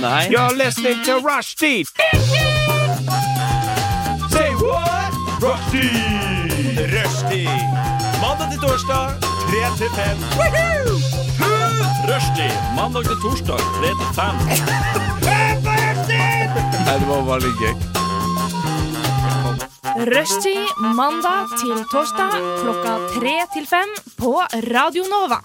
Nei. You're listening to Rushdie! Say what? Rushdie! Rushdie! Mandag til torsdag, 3 til 5. Rushdie. Mandag til torsdag 3 til 5. Nei, det var veldig gøy. Rushtid mandag til torsdag klokka tre til fem på Radio Nova.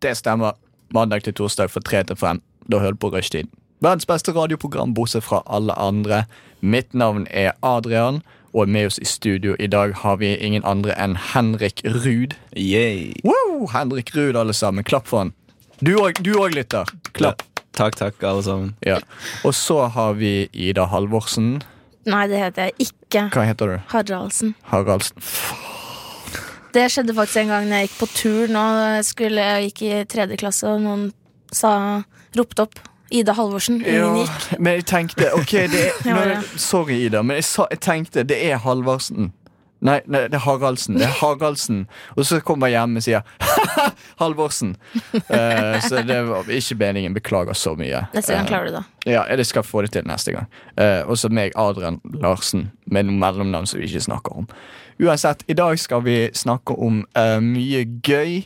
Det stemmer. Mandag til torsdag fra tre til fem. Da hører du på Rushtid. Verdens beste radioprogram, bortsett fra alle andre. Mitt navn er Adrian, og med oss i studio i dag har vi ingen andre enn Henrik Ruud. Yay. Wow, Henrik Ruud, alle sammen. Klapp for han. Du òg, du òg, lytter. Klapp. Takk, takk, alle sammen. Ja. Og så har vi Ida Halvorsen. Nei, det heter jeg ikke. Hva heter du? Haraldsen. Haraldsen. Det skjedde faktisk en gang når jeg gikk på tur. Nå skulle jeg gikk i tredje klasse, og noen sa, ropte opp Ida Halvorsen. Ja, Ingen gikk. men jeg tenkte ok, det er, Ja, nå- ja. Sorry, Ida, men jeg, sa, jeg tenkte det er Halvorsen. Nei, nei, det er Haraldsen. Det er Haraldsen. Og så kommer jeg hjem og sier Halvorsen. Eh, så det var ikke meningen. Beklager så mye. Neste gang Eh, klarer du det. Ja, jeg skal få det til neste gang. Eh, og så meg, Adrian Larsen, med noen mellomnavn som vi ikke snakker om. Uansett, i dag skal vi snakke om eh, mye gøy.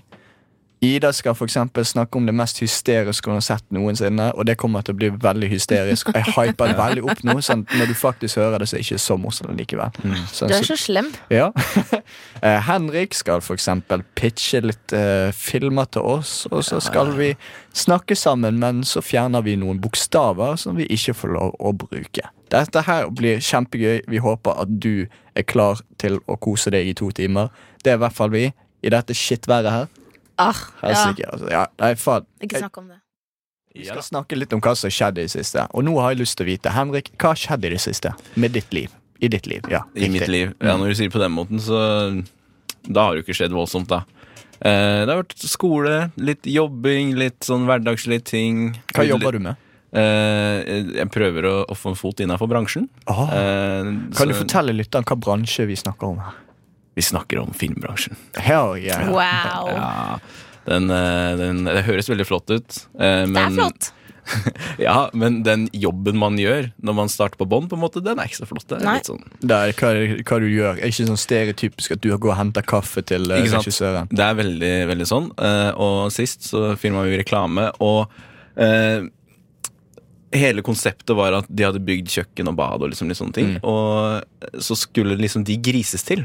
Ida skal for eksempel snakke om det mest hysteriske hun har sett noensinne. Og det kommer til å bli veldig hysterisk. Jeg hyper det veldig opp nå, sånn at når du faktisk hører det, så er det ikke så morsomt likevel. Sånn Du er som- så slem. ja. Eh, Henrik skal for eksempel pitche litt eh, filmer til oss, og så skal vi snakke sammen, men så fjerner vi noen bokstaver som vi ikke får lov å bruke. Dette her blir kjempegøy. Vi håper at du er klar til å kose deg i to timer. Det er i hvert fall vi. I dette skittværet her. Ah, ja. Helsike, altså. Ja, nei, faen. Ikke snakk om det. Vi skal snakke litt om hva som skjedde i det siste. Og nå har jeg lyst til å vite, Henrik, hva skjedde i det siste med ditt liv? I ditt liv, ja. I mitt riktig. liv. Ja, når du sier det på den måten, så Da har det jo ikke skjedd voldsomt, da. Eh, det har vært skole, litt jobbing, litt sånn hverdagslige ting. Eh, Hva jobber du med? jeg prøver å, å få en fot innafor bransjen. Åh. Eh, så- Kan du fortelle lytteren hva bransje vi snakker om her? Vi snakker om filmbransjen. Hell yeah. Wow. Ja, den, eh, den, det høres veldig flott ut. eh, Det er men- flott. Ja, men den jobben man gjør når man starter på bånn, på en måte, den er ikke så flott. Det er Nei. litt sånn Det er hva, hva du gjør. Er ikke sånn stereotypisk at du går og henter kaffe til eh, Ikke sant? regissøren. Det er veldig, veldig sånn. Eh, Og sist så filma vi reklame, og eh, hele konseptet var at de hadde bygd kjøkken og bad og liksom litt sånne Mm. ting. Og så skulle liksom de grises til.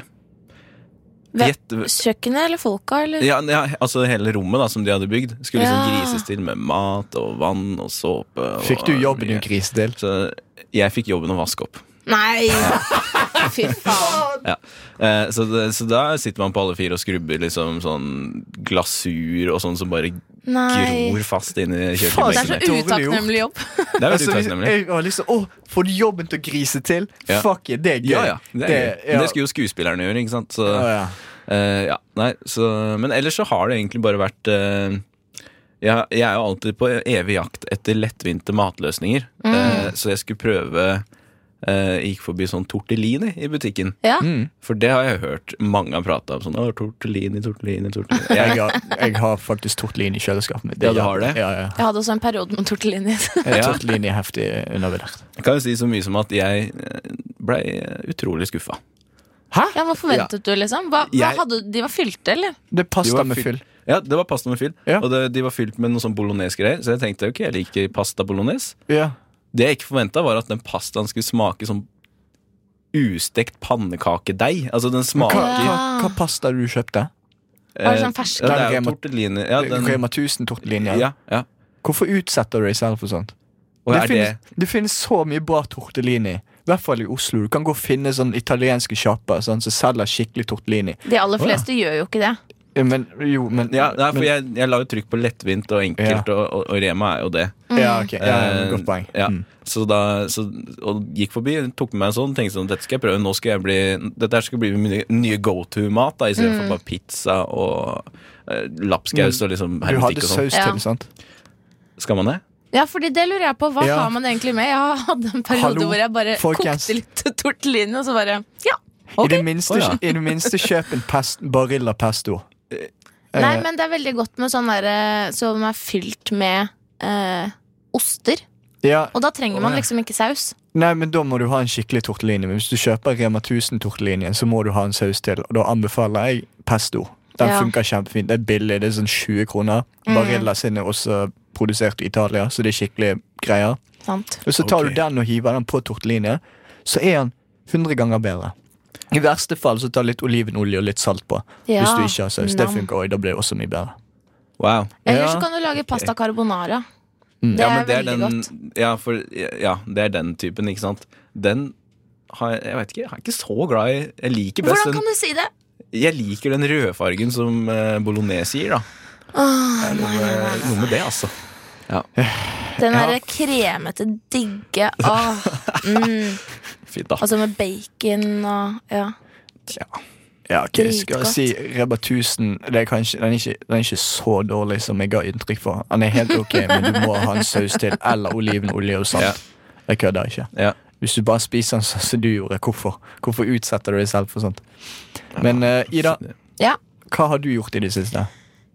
Hvem- Gjett- Kjøkkenet eller folka, eller? Ja, ja, altså hele rommet da som de hadde bygd, skulle liksom Ja. grises til med mat og vann og såpe. Og Fikk du jobben du griser til? Så jeg fikk jobben å vaske opp. Nei! Fy faen. Ja. Eh, så, det, så da sitter man på alle fire og skrubber liksom sånn glasur og sånn som bare Nei. gror fast inn i Faen, Det er så kjøkkenbenken. dårlig gjort. så utakknemlig jobb. Det er veldig Altså, hvis- utakknemlig. jeg var liksom, Å, får du jobben til å grise til? Ja. Fuck it, det er gøy. Ja, ja. Det, er gøy. ja. det skulle jo skuespillerne gjøre, ikke sant. Så, Å, ja. eh, ja. Nei, så, men ellers så har det egentlig bare vært eh, jeg, jeg er jo alltid på evig jakt etter lettvinte matløsninger. Eh, så jeg skulle prøve eh, Gikk forbi sånn tortellini i butikken. Ja. Mm. For det har jeg hørt mange har prata om. Sånn, Å, tortellini, tortellini, tortellini. Jeg Jeg, har, jeg har faktisk tortellini i kjøleskapet mitt. Ja, du gjør- har det? Ja, ja. Jeg hadde også en periode med tortellini. Jeg Ja. har Tortellini er heftig undervurdert. Jeg kan jo si så mye som at jeg eh, ble eh, utrolig skuffa. Ja, hva forventet du, liksom? Hva, hva Jeg- hadde, de var fylte, eller? Det De er pasta var med fylt- fyll. Ja, det var pasta med fyll, Ja. og det, de var fylt med noe sånn bolognese-greier. Så jeg tenkte ok, jeg liker pasta bolognese. Ja. Det jeg ikke forventa, var at den pastaen skulle smake som ustekt pannekakedeig. Altså, den Hva, smaker eh, hva, hva pasta er det du kjøpte? Var det sånn fersk? Ja, det er Den jo Rema- tortellini. Ja, den, Rema 1000-tortellini? ja, ja. Hvorfor utsetter du deg selv for sånt? Og det, er det finnes, det... finnes så mye bra tortellini. I hvert fall i Oslo. Du kan gå og finne sånn italienske sjapper sånn, som selger skikkelig tortellini. De Å, aller ja. fleste gjør jo ikke det. Eh, Men jo, men ja, nei, for men, jeg, jeg la jo trykk på lettvint og enkelt, og, og, og Rema er jo det. Ja, ok. Ja, ja, Eh, godt poeng. Ja. Mm. Så da så, og gikk forbi, tok med meg en sånn, tenkte sånn, dette skal jeg prøve. Nå skal jeg bli, dette her skal bli min nye- nye go to-mat, da, Mm. istedenfor for bare pizza og eh, lapskaus og liksom Mm. Du hermetikk hadde og sånn. saus Ja. til, sant? Skal man det? Ja, fordi det lurer jeg på. Hva Ja. har man egentlig med? Jeg hadde en periode Hallo, hvor jeg bare folkens. kokte litt tortellini, og så bare Ja, I, ok. det minste, Å, ja. I det minste kjøp en pest, Barilla pesto. Nei, Eh, men det er veldig godt med sånn derre som er fylt med eh, oster. ja, Og da trenger Å, man ja. liksom ikke saus. Nei, men da må du ha en skikkelig tortellini. Men hvis du kjøper Rema 1000-tortellinien, så må du ha en saus til. Og da anbefaler jeg pesto. Den Ja. Mm. funker kjempefint. Det er billig. Det er sånn 20 kroner. Barilla sin er også produsert i Italia, så det er skikkelig greier. Sant. Og så tar Ok. du den og hiver den på tortellinje, så er den 100 ganger bedre. I verste fall så ta litt olivenolje og litt salt på. Ja. Hvis du ikke har saus. Det Nam. funker også. Da blir det også mye bedre. Wow. Eller Ja. så kan du lage pasta carbonara. Mm. Det ja, er men det er veldig den, godt. Ja, for, ja, det er den typen, ikke sant? Den har jeg Jeg vet ikke, jeg er ikke så glad i Jeg liker best Hvordan den, kan du si det? jeg liker den rødfargen som eh, bolognese gir, da. Det er noe, noe med det, altså. Den derre kremete, digge Åh. Mm. Fint, da. Altså med bacon og Ja. Ja, ok, skal jeg Dritgodt. si Reba 1000 det er kanskje, den, er ikke, den er ikke så dårlig som jeg ga inntrykk for. Den er helt ok, men du må ha en saus til. Eller olivenolje og salt. Ja. Jeg kødder ikke. Ja. Hvis du bare spiser den sånn som du gjorde, hvorfor, hvorfor utsetter du deg selv for sånt? Men eh, Ida, ja. hva har du gjort i det siste?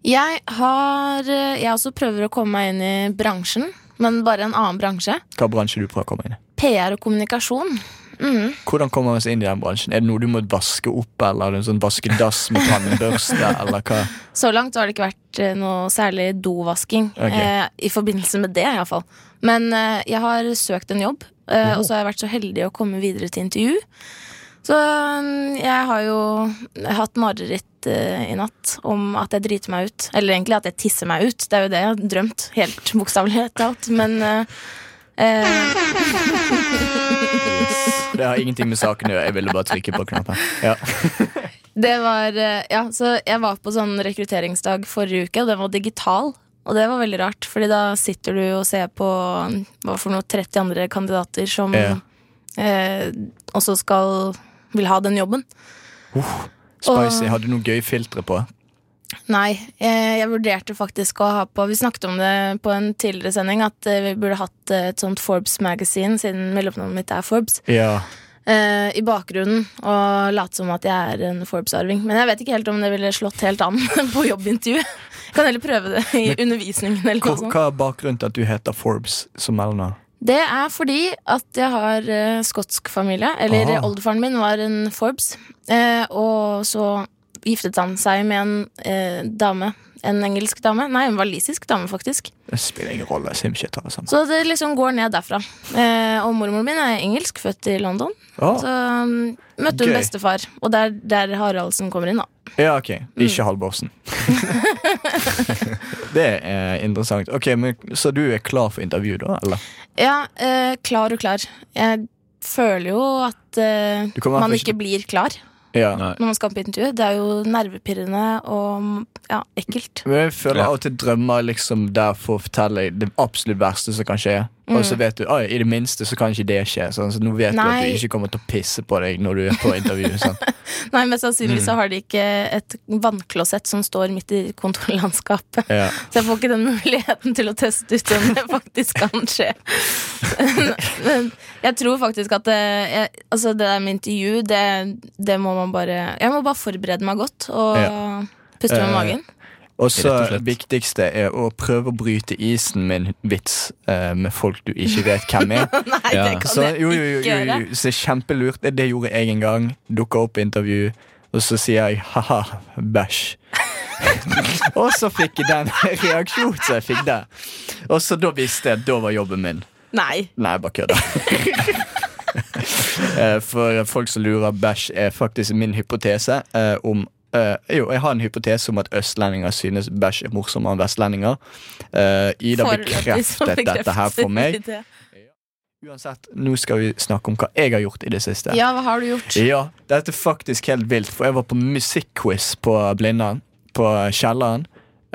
Jeg har eh, Jeg også prøver å komme meg inn i bransjen, men bare en annen bransje. Hva bransje du prøver å komme inn i? PR og kommunikasjon. Mm. Hvordan kommer man seg inn i den bransjen? Er det noe du må vaske opp, eller er det en sånn vaskedass med tannbørste, eller hva? Så langt så har det ikke vært eh, noe særlig dovasking Ok. eh, i forbindelse med det. I hvert fall. Men eh, jeg har søkt en jobb, eh, og så har jeg vært så heldig å komme videre til intervju. Så mm, jeg har jo hatt mareritt eh, i natt om at jeg driter meg ut. Eller egentlig at jeg tisser meg ut. Det er jo det jeg har drømt. Helt bokstavelig talt. Men eh, eh, Det har ingenting med saken å gjøre, jeg ville bare trykke på knappen. Ja. Det var, eh, ja, så jeg var på sånn rekrutteringsdag forrige uke, og den var digital. Og det var veldig rart, fordi da sitter du og ser på mm, hva for noe 30 andre kandidater som Ja. eh, også skal vil ha den jobben. Spicy, hadde du noe gøy filtre på? Nei, eh, jeg vurderte faktisk å ha på Vi snakket om det på en tidligere sending, at eh, vi burde hatt eh, et sånt Forbes Magazine, siden mellomnavnet mitt er Forbes, Ja. eh, i bakgrunnen. Og late som at jeg er en Forbes-arving. Men jeg vet ikke helt om det ville slått helt an på jobbintervju. Jeg kan heller prøve det i undervisningen eller Hva, noe sånt. hva er bakgrunnen til at du heter Forbes som mellomnavn? Det er fordi at jeg har eh, skotsk familie. Eller Aha. oldefaren min var en Forbes. Eh, og så giftet han seg med en eh, dame. En engelsk dame. Nei, en walisisk dame, faktisk. Det spiller ingen rolle. Simshit har det samme. Så det liksom går ned derfra. Eh, og mormoren min er engelsk, født i London. Å, Så um, møtte hun Gøy. bestefar, og det er der Haraldsen kommer inn, da. ja, ok. Ikke Halvorsen. det er interessant. Ok, men Så du er klar for intervju, da? eller? Ja, eh, klar og klar. Jeg føler jo at eh, Du kommer i hvert man fall ikke blir klar Ja. Nei. når man skal på intervju. Det er jo nervepirrende og ja, ekkelt. Men jeg føler Ja. av og til drømmer liksom der for å fortelle det absolutt verste som kan skje. Og så vet du oi, i det minste så kan ikke det skje. Sånn, så nå vet du at Nei. de ikke kommer til å pisse på deg når du er på intervju. Sant? Nei, Mest sannsynlig Mm. så har de ikke et vannklosett som står midt i kontorlandskapet. Ja. Så jeg får ikke den muligheten til å teste ut om det faktisk kan skje. Men jeg tror faktisk at det, jeg, altså det der med intervju, det, det må man bare Jeg må bare forberede meg godt og Ja. puste med Eh, magen. Og Rett og så slett. viktigste er å prøve å bryte isen med en vits eh, med folk du ikke vet hvem er. Nei, ja. det kan Så, jeg jo, jo, jo, ikke jo, gjøre. jo. så kjempelurt. Det gjorde jeg en gang. Dukka opp i intervju, og så sier jeg ha-ha, bæsj. og så fikk jeg den reaksjonen som jeg fikk der. Og så da visste jeg at da var jobben min. Nei. Nei, jeg bare kødder. Eh, For folk som lurer, bæsj er faktisk min hypotese eh, om eh, jo, jeg har en hypotese om at østlendinger synes bæsj er morsommere enn vestlendinger. Eh, Ida Foreløpig så bekreftet dette her for meg. bekreftet vi det. Uansett, nå skal vi snakke om hva jeg har gjort i det siste. Ja, hva har du gjort? Ja, dette er faktisk helt vilt, for jeg var på musikkquiz på Blindern, på kjelleren.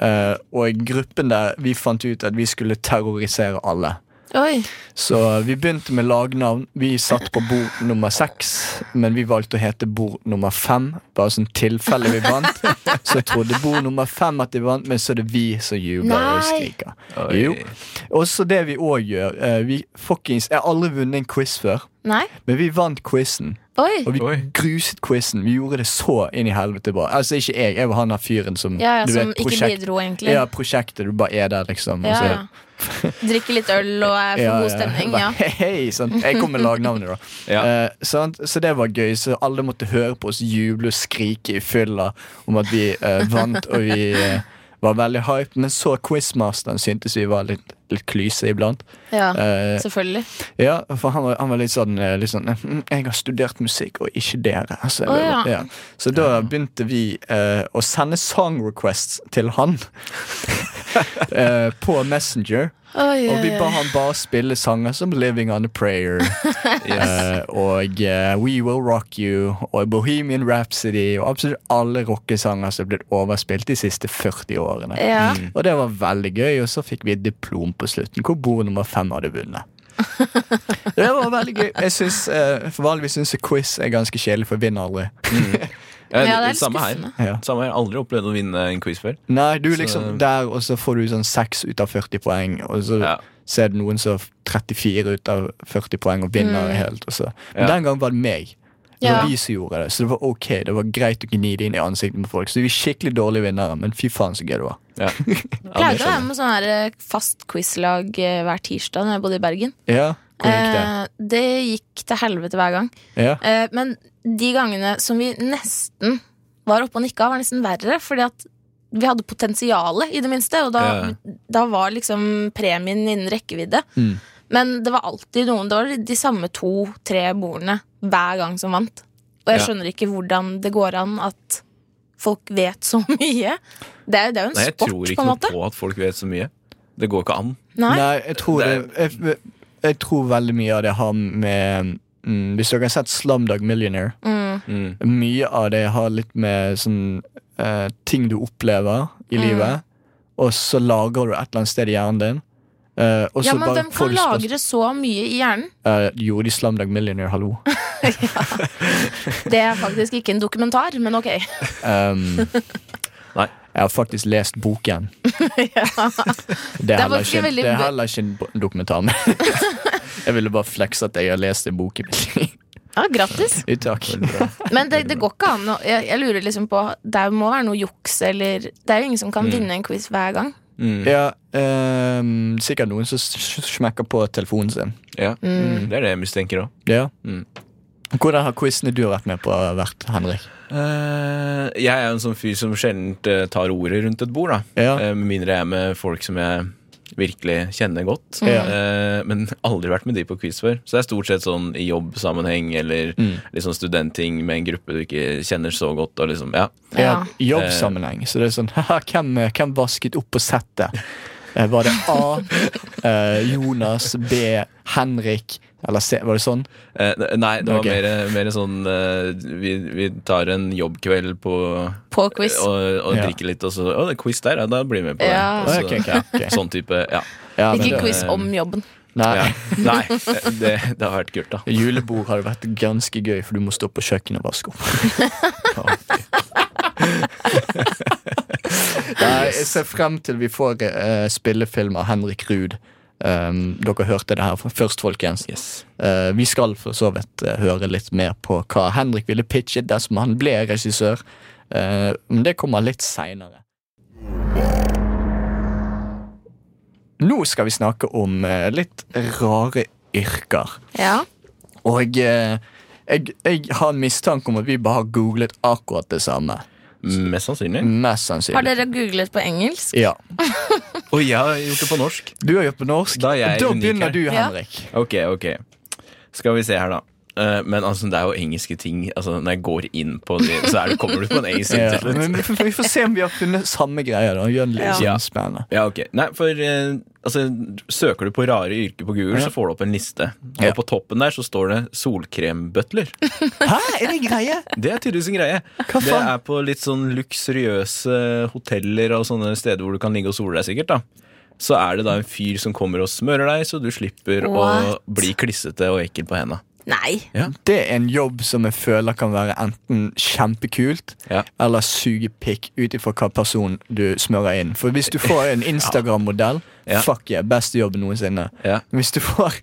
eh, og gruppen der, vi fant ut at vi skulle terrorisere alle. Oi. Så vi begynte med lagnavn. Vi satt på bord nummer seks, men vi valgte å hete bord nummer fem. Bare sånn tilfelle vi vant. Så trodde bord nummer fem at de vant, men så er det vi som jubler og Nei. skriker. Jo. Og så det vi òg gjør eh, Vi fuckings Jeg har aldri vunnet en quiz før. Nei? Men vi vant quizen. Oi! Og vi Oi. gruset quizen. Vi gjorde det så inn i helvete bra. Altså ikke jeg, jeg var han der fyren som Ja, ja, du som vet, ikke prosjekt- bidro, egentlig. Ja, prosjektet. Du bare er der, liksom. og Ja, så- ja. Drikke litt øl og er for Ja, god ja. stemning. Bare, Ja. Hei, hei, sant? Jeg kom med lagnavnet, da. Ja. Eh, sant? Så det var gøy. Så alle måtte høre på oss juble og skrike i fylla om at vi eh, vant, og vi eh, var veldig hype. Men så quizmasteren syntes vi var litt, litt klyse iblant. ja, Eh, selvfølgelig. ja, for han var, han var litt sånn, eh, litt sånn «Mm, Jeg har studert musikk, og ikke dere. Altså, Å, ja. Så da begynte vi eh, å sende song requests til han eh, på Messenger. Oi, Og vi oi, ba oi. han bare spille sanger som 'Living On A Prayer' eh, og eh, 'We Will Rock You' og 'Bohemian Rhapsody' og absolutt alle rockesanger som er blitt overspilt de siste 40 årene. Ja. Og det var veldig gøy, og så fikk vi et diplom på slutten hvor bord nummer fem hadde vunnet. Det var veldig gøy. Jeg synes, eh, for Vanligvis syns jeg quiz er ganske kjedelig, for jeg vinner aldri. Jeg, Ja, det er litt samme her. skuffende. Ja. Samme her. Jeg har Aldri opplevd å vinne en quiz før. Nei, du er Så- liksom der, og så får du sånn 6 ut av 40 poeng, og så Ja. ser du noen som har 34 ut av 40 poeng og vinner helt. Og så. Men Ja. den gangen var det meg. Det Mm. Ja. var vi som gjorde det, så det var ok. Det var greit å gni det inn i ansiktet på folk. Så vi er skikkelig dårlige vinnere, men fy faen så gøy det var. Ja. Ja, Pleide det å være skjønner jeg. med sånn her eh, fast quizlag eh, hver tirsdag når jeg bodde i Bergen. Ja, hvordan gikk det? Eh, det gikk til helvete hver gang. Ja. Eh, men de gangene som vi nesten var oppe og nikka, var nesten verre. Fordi at vi hadde potensialet, i det minste. Og da, da var liksom premien innen rekkevidde. Mm. Men det var alltid noen Det var de samme to-tre bordene hver gang som vant. Og jeg Ja. skjønner ikke hvordan det går an at folk vet så mye. Det er, det er jo en Nei, jeg sport, tror på ikke en noe måte. på at folk vet så mye. Det går ikke an. Nei? Nei, jeg tror det Det jeg, jeg tror veldig mye av det har med mm, Hvis dere har sett Slumdog Millionaire Mm. Mm. Mye av det har litt med sånn eh, ting du opplever Mm. i livet, og så lagrer du et eller annet sted i hjernen din. eh, og Altså, Ja, så men bare hvem får kan du spørs- lagre så mye i hjernen? Eh, Jo, de Slumdog Millionaire, hallo. Det er faktisk ikke en dokumentar, men ok. Um, Nei. Jeg har faktisk lest boken. Det er heller faktisk ikke, veldig- det er heller ikke en bo- dokumentar. men jeg ville bare flekse at jeg har lest en bok i mitt liv. Ja, Grattis. Takk. Men det, det går ikke an å jeg, jeg lurer liksom på Det må være noe juks, eller Det er jo ingen som Mm. kan vinne en quiz hver gang. Mm. Ja, ehm, sikkert noen som s- s- smekker på telefonen sin. Ja. Mm. Det er det jeg mistenker òg. Ja. Mm. Hvordan har quizene du har vært med på vært, Henrik? jeg er jo en sånn fyr som sjelden tar ordet rundt et bord, da. Ja. Eh, Med mindre jeg er med folk som jeg virkelig kjenner godt. Ja. Eh, Men aldri vært med de på quiz før. Så det er stort sett sånn i jobbsammenheng eller Mm. litt sånn studentting med en gruppe du ikke kjenner så godt. Og liksom, ja. Ja, Ja. i jobbsammenheng. Så det er sånn haha, hvem, hvem vasket opp på settet? Eh, Var det A. eh, Jonas. B. Henrik. Eller C. Var det sånn? Eh, Nei, det var Ok. mer, mer sånn eh, vi, vi tar en jobbkveld på På quiz. Og, og Ja. drikker litt, og så Å, det er quiz der, ja. Da blir vi med på Ja. det. Og så- Ok, ok, ok. Sånn type, ja. Ja, men det- Ikke quiz om jobben. Nei. ja. Nei, det, det har vært kult, da. Julebord hadde vært ganske gøy, for du må stå på kjøkkenet og vaske opp. Nei, jeg ser frem til vi får eh, spillefilm av Henrik Ruud. Um, dere hørte det her f- først, folkens. Yes. Eh, vi skal for så vidt eh, høre litt mer på hva Henrik ville pitchet dersom han ble regissør. Eh, men det kommer litt seinere. Nå skal vi snakke om eh, litt rare yrker. Ja. Og eh, jeg, jeg har en mistanke om at vi bare har googlet akkurat det samme. Mest sannsynlig. Mest Har sannsynlig. dere googlet på engelsk? Ja. Og jeg har gjort det på norsk. Du har gjort på norsk. Da er jeg unik begynner her. du, Ja. Henrik. Ok, ok Skal vi se her da Eh, Men altså, det er jo engelske ting Altså, når jeg går inn på det Så er det, kommer du på en engelsk ting Ja. til slutt Men vi, får, vi får se om vi har funnet samme greia. da Gjør det litt Ja. sånn spennende Ja, ok Nei, for eh, altså, søker du på rare yrker på Google Ja. Så får du opp en liste Ja. Og på toppen der så står det solkrembøtler Hæ, er det en greie? Det er tydeligvis en greie Hva Det faen? er på litt sånn luksuriøse hoteller Og sånne steder hvor du kan ligge og sole deg sikkert da så er det da en fyr som kommer og smører deg Så du slipper å What? bli klissete og ekkel på hendene Nei. Det er en jobb som jeg føler kan være enten kjempekult Ja. eller suge pikk ut ifra hva person du smører inn. For hvis du får en Instagram-modell Ja. Fuck yeah, beste jobb noensinne. Ja. Hvis du får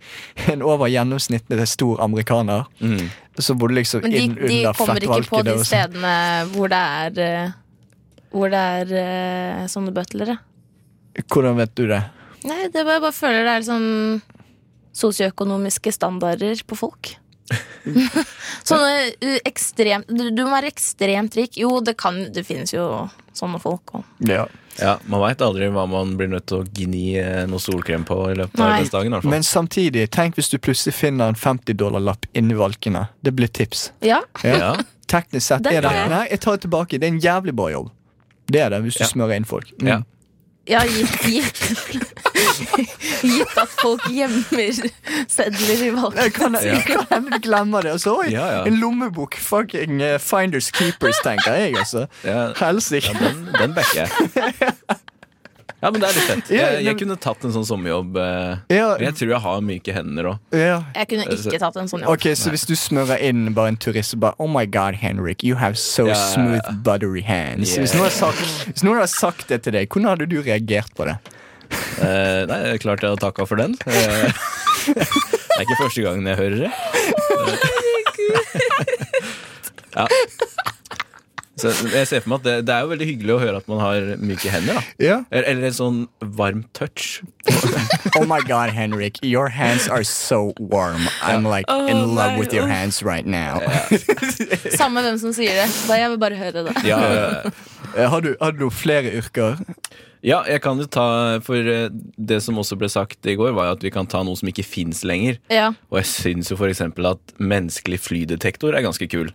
en over gjennomsnittet stor amerikaner, Mm. så bor du liksom Men de, inn de under kommer ikke fettvalkene. på de og sånn. stedene hvor det er eh, Hvor det er eh, sånne butlere. Hvordan vet du det? Nei, det var, jeg bare føler det er liksom sosioøkonomiske standarder på folk. sånne eh, ekstremt du, du må være ekstremt rik. Jo, det kan Det finnes jo sånne folk òg. Ja. Ja, Man veit aldri hva man blir nødt til å gni eh, noe solkrem på i løpet av Nei. arbeidsdagen. i hvert fall. Men samtidig, tenk hvis du plutselig finner en 50 dollar-lapp inni valkene. Det blir tips. Ja. ja. Teknisk sett Den er det tar jeg. Nei, jeg tar det tilbake. Det er en jævlig bra jobb. Det er det, hvis du Ja. smører inn folk. Mm. Ja. Ja, gitt, gitt. gitt at folk gjemmer sedler i valgkampen. Det Kan Ja. kan hende du glemmer det. Og så oi, Ja, ja. en lommebok. Fucking eh, finders keepers, tenker jeg, altså. Ja. Helsike. Den, den backer jeg. Ja, men det er litt fett. Ja, Jeg, jeg men- kunne tatt en sånn sommerjobb. eh, Ja, men Jeg tror jeg har myke hender òg. ja. Jeg kunne ikke tatt en sånn jobb. Ok, så hvis du smører inn bare en turist og bare Oh my god, Henrik, you have so Ja, ja, ja. smooth buttery hands. Yeah. Hvis, noen har sagt, hvis noen har sagt det til deg, hvordan hadde du reagert på det? Eh, Nei, det er klart jeg har takka for den. Eh, Det er ikke første gangen jeg hører det. Ja. Så jeg ser for meg at det, det er jo veldig hyggelig å høre at man har myke hender. da Ja. Eller- Eller en sånn varm touch. Oh my god, Henrik, your hands are so warm. I'm like in love with your hands right now. Samme hvem som sier det. Da jeg vil bare høre det. Ja, ja, ja. Eh, Har du, har du noen flere yrker? ja, jeg kan jo ta For eh, det som også ble sagt i går, var jo at vi kan ta noe som ikke fins lenger. Ja. Og jeg syns jo for eksempel at menneskelig flydetektor er ganske kul.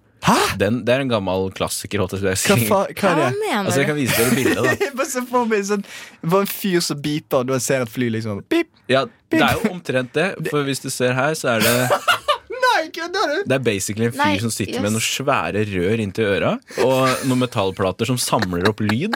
Den, det er en gammel klassiker. holdt jeg på å si. Hva, fa- hva Hva er det? mener Altså, jeg kan du? vise dere bildet, da. Jeg bare ser for meg en sånn, bare en fyr som beeper, og du ser et fly liksom Pip! Ja, det er jo omtrent det. For hvis du ser her, så er det Nei, kødder du? Det er basically en fyr Nei, som sitter yes. med noen svære rør inntil øra og noen metallplater som samler opp lyd.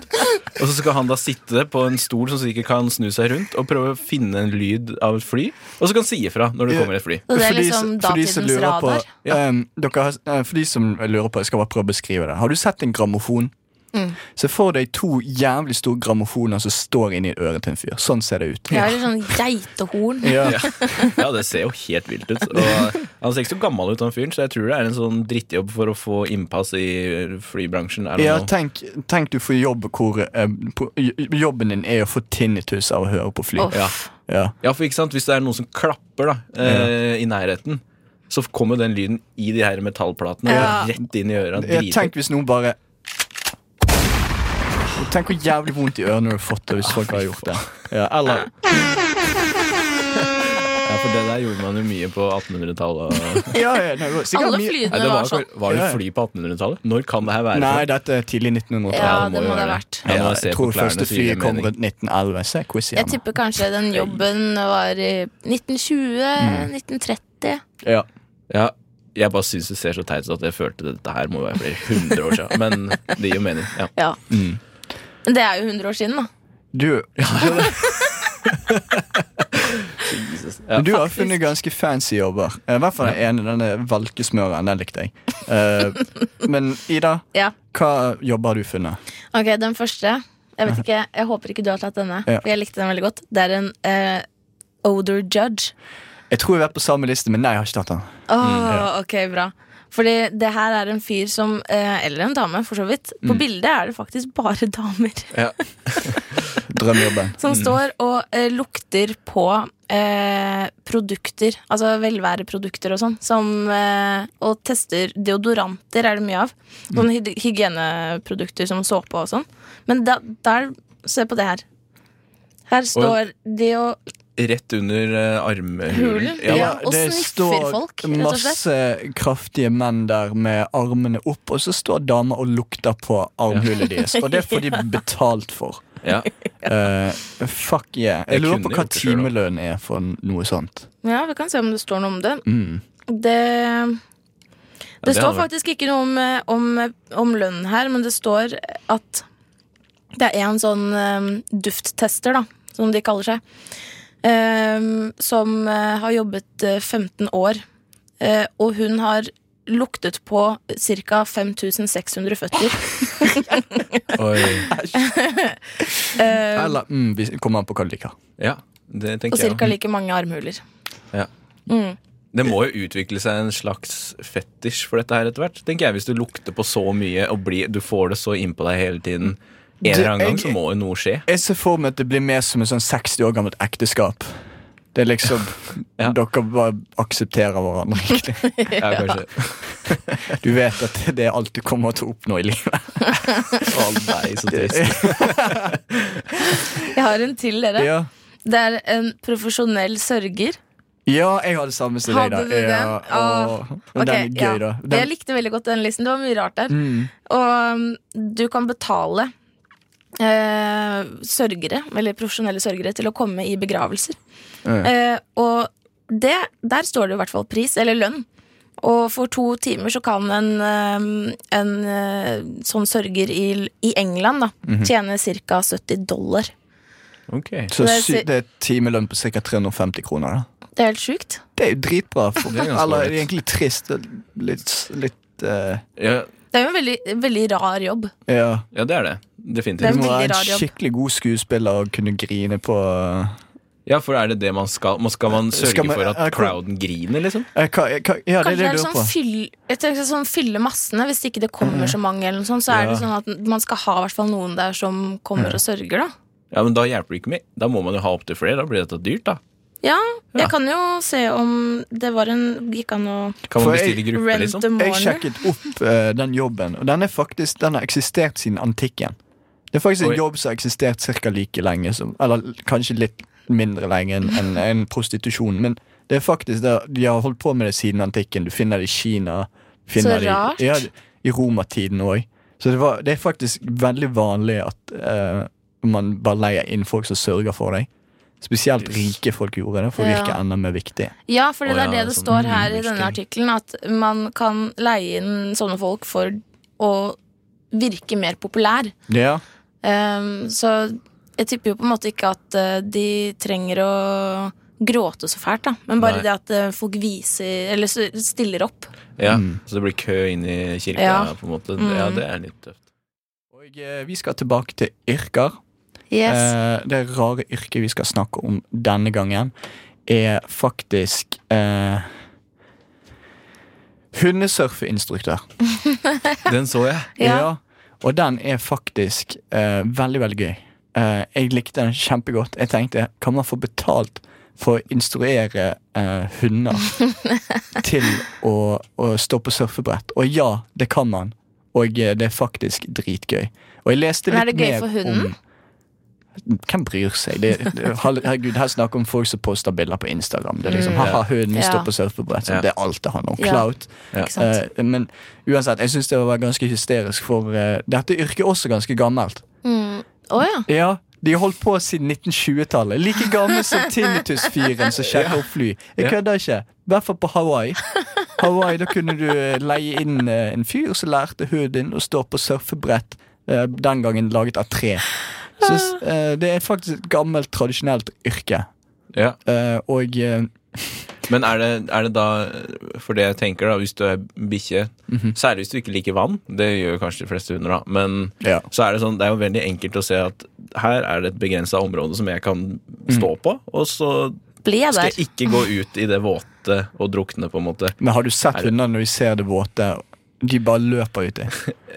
Og så skal han da sitte på en stol som sikkert kan snu seg rundt, og prøve å finne en lyd av et fly. Og så kan han si ifra når det Ja. kommer et fly. Så det er For de liksom som- for de som datidens lurer på- radar? Ja. ehm, dere har, eh, for de som lurer på, jeg skal bare prøve å beskrive det. Har du sett en grammofon? Mm. Se for deg to jævlig store grammofoner som står inni øret til en fyr. Sånn ser det ut. Jeg har et sånn geitehorn. Ja. Ja. ja, det ser jo helt vilt ut. Og han ser ikke så gammel ut, han fyren, så jeg tror det er en sånn drittjobb for å få innpass i flybransjen. I don't Ja, know. tenk, tenk du får jobb hvor eh, på, j- jobben din er å få tinnitus av å høre på fly. Uff. Ja. Ja. ja, for ikke sant, hvis det er noen som klapper da, eh, i nærheten, så kommer den lyden i de her metallplatene Ja. rett inn i øra. Ja, Drit- tenk hvis noen bare Tenk hvor jævlig vondt i ørene du har fått det hvis folk har gjort det. Ja, eller Ja, for det der gjorde man jo mye på 1800-tallet. og- ja, ja, det var sikkert Alle mye- Nei, flydene det var var, sånn. jo- var det Ja. fly på 1800-tallet? Når kan det her være? Nei, dette er tidlig 1900-tall. Ja, Ja, det det må jo må det ha være vært. Ja, Ja, når jeg ser på tror klærne, så første gir det flyet kom mening. rundt 1911. Se quiz Jeg igjen. tipper kanskje den jobben var i 1920, 1930. Ja. Ja, jeg bare syns det ser så teit ut at jeg følte det- dette her må være flere hundre år siden. Men det gir jo mening. Ja. Ja. Men det er jo 100 år siden, da. Du, Ja. du har funnet ganske fancy jobber. Eh, I hvert fall den ene, denne valkesmøren. Den likte jeg. Eh, men Ida, Ja. hva jobber har du funnet? Ok, den første. Jeg vet ikke, jeg håper ikke du har tatt denne, Ja. for jeg likte den veldig godt. Det er en eh, odor judge. Jeg tror jeg har vært på samme liste, men nei, jeg har ikke tatt den. Åh, ok, bra. Fordi det her er en fyr som eh, Eller en dame, for så vidt. På bildet er det faktisk bare damer. Ja. Drømmejobben. Som står og eh, lukter på eh, produkter, altså velværeprodukter og sånn, som eh, Og tester deodoranter, er det mye av. Sånne hy hygieneprodukter som såpe og sånn. Men da, der Se på det her. Her står de og Rett under eh, armhulen. Hulen? Ja, Ja. ja. og det sniffer står folk, rett og slett. masse kraftige menn der med armene opp, og så står damer og lukter på armhulet deres. Og det får de betalt for. Eh, fuck yeah. Jeg Jeg lurer kunne på hva gjort det selv, da. timelønnen er for noe sånt. Ja, vi kan se om det står noe om det. Mm. Det Det det står hadde vært- faktisk ikke noe om, eh, om, eh, om lønn her, men det står at det er en sånn eh, dufttester, da, som de kaller seg, ehm, eh, som eh, har jobbet eh, 15 år. Eh, og hun har luktet på ca. 5600 føtter. Oi. Eh, Eller mm, vi kommer an på hva du liker. Ja, det og tenker jeg ca. også. like mange armhuler. Ja. Mm. Det må jo utvikle seg en slags fetisj for dette her etter hvert. Tenker jeg Hvis du lukter på så mye og blir, du får det så innpå deg hele tiden, en eller annen gang jeg- så må jo noe skje. Jeg ser for meg at det blir mer som en sånn 60 år gammelt ekteskap. Det er liksom Ja. Dere bare aksepterer hverandre, egentlig. Ja, kanskje. Du vet at det er alt du kommer til å oppnå i livet. Å nei, så trist. Jeg har en til, dere. Ja, Det er en profesjonell sørger. ja jeg har det samme som deg, da. Hadde du den? Ja, Åh. og, men den er Ok, gøy, ja. da. Den, Jeg likte veldig godt den listen. Det var mye rart der. mm. Og um, du kan betale eh, sørgere, eller profesjonelle sørgere, til å komme i begravelser. Ja. Eh, og det, der står det i hvert fall pris, eller lønn. Og for to timer så kan en, eh, en eh, sånn sørger i, i England da, Mhm. tjene ca. 70 dollar. Ok. Så Det er sy si- det er timelønn på ca. 350 kroner. da Det er helt sjukt. Det er jo dritbra. For, Det er ganske eller ålreit. det er egentlig trist. Det er Litt, litt eh, Ja, Det er jo en veldig, veldig rar jobb. Ja. ja, det er det. Det er Du Definitivt. en må være veldig en rar jobb. skikkelig god skuespiller og kunne grine på Ja, for er det det man skal? Man skal man sørge Skal man- for at er- crowden griner, liksom? eh, hva, hva, Ja, det Kanskje er det du er det lurer sånn på. fyll, jeg tenker sånn fylle massene hvis ikke det kommer så mange. eller noe sånt, Så er det Ja. sånn at man skal ha hvert fall noen der som kommer og sørger, da. Ja, men Da hjelper det ikke med. Da må man jo ha opptil flere. Da blir dette dyrt, da. Ja, jeg Ja. kan jo se om det var en Gikk an å Kan For man jeg- bestille gruppe, rent liksom? a Jeg mourner? sjekket opp eh, den jobben, og den, er faktisk, den har eksistert siden antikken. Det er faktisk en Oi. jobb som har eksistert ca. like lenge som Eller kanskje litt mindre lenge enn enn- enn prostitusjon, men det er faktisk det, de har holdt på med det siden antikken. Du finner det i Kina. Finner Så rart. Det, i- ja, I romertiden òg. Så det, var, det er faktisk veldig vanlig at eh, man bare leier inn folk som sørger for deg. Spesielt rike folk gjorde det, for å Ja. virke enda mer viktige. Ja, for det Å, ja, er det det sånn. står Mm, her i denne artikkelen, at man kan leie inn sånne folk for å virke mer populær. Ja. Ehm, så jeg tipper jo på en måte ikke at eh, de trenger å gråte så fælt, da. Men Nei. bare det at eh, folk viser Eller s- stiller opp. Ja, Så det blir kø inn i kirka, Ja. på en måte. Mm. Ja, det er litt tøft. Og eh, vi skal tilbake til yrker. Eh, det rare yrket vi skal snakke om denne gangen, er faktisk eh, Hundesurfeinstruktør. Den så jeg. Eh, Ja. Og den er faktisk eh, veldig, veldig gøy. Eh, jeg likte den kjempegodt. Jeg tenkte, kan man få betalt for å instruere eh, hunder til å, å stå på surfebrett? Og ja, det kan man. Og eh, det er faktisk dritgøy. Og jeg leste Men er litt det gøy mer for hunden? om hvem bryr seg? Det, det, herregud, Her snakker vi om folk som poster bilder på Instagram. Det er liksom, Mm. Haha, hunden Ja. står på surfebrett. Så Ja. Det er alt det handler om. Ja. Clout. Ja. Ikke sant? Eh, men uansett, jeg syns det var ganske hysterisk, for eh, dette yrket er også ganske gammelt. Mm. Å ja. Ja, De har holdt på siden 1920-tallet. Like gammel som tinnitusfyren som sjekker opp fly. Jeg Ja. kødder ikke. I hvert fall på Hawaii. Hawaii, Da kunne du eh, leie inn eh, en fyr som lærte huden å stå på surfebrett. eh, Den gangen laget av tre. Så eh, det er faktisk et gammelt, tradisjonelt yrke. Ja. Eh, Og eh, Men er det, er det da For det jeg tenker, da, hvis du er bikkje Særlig hvis du ikke liker vann. Det gjør kanskje de fleste hunder, da. Men ja. så er det sånn, det er jo veldig enkelt å se at her er det et begrensa område som jeg kan stå på, og så Blir jeg skal der? jeg ikke gå ut i det våte og drukne, på en måte. Men har du sett Er det- hundene når de ser det våte? De bare løper uti.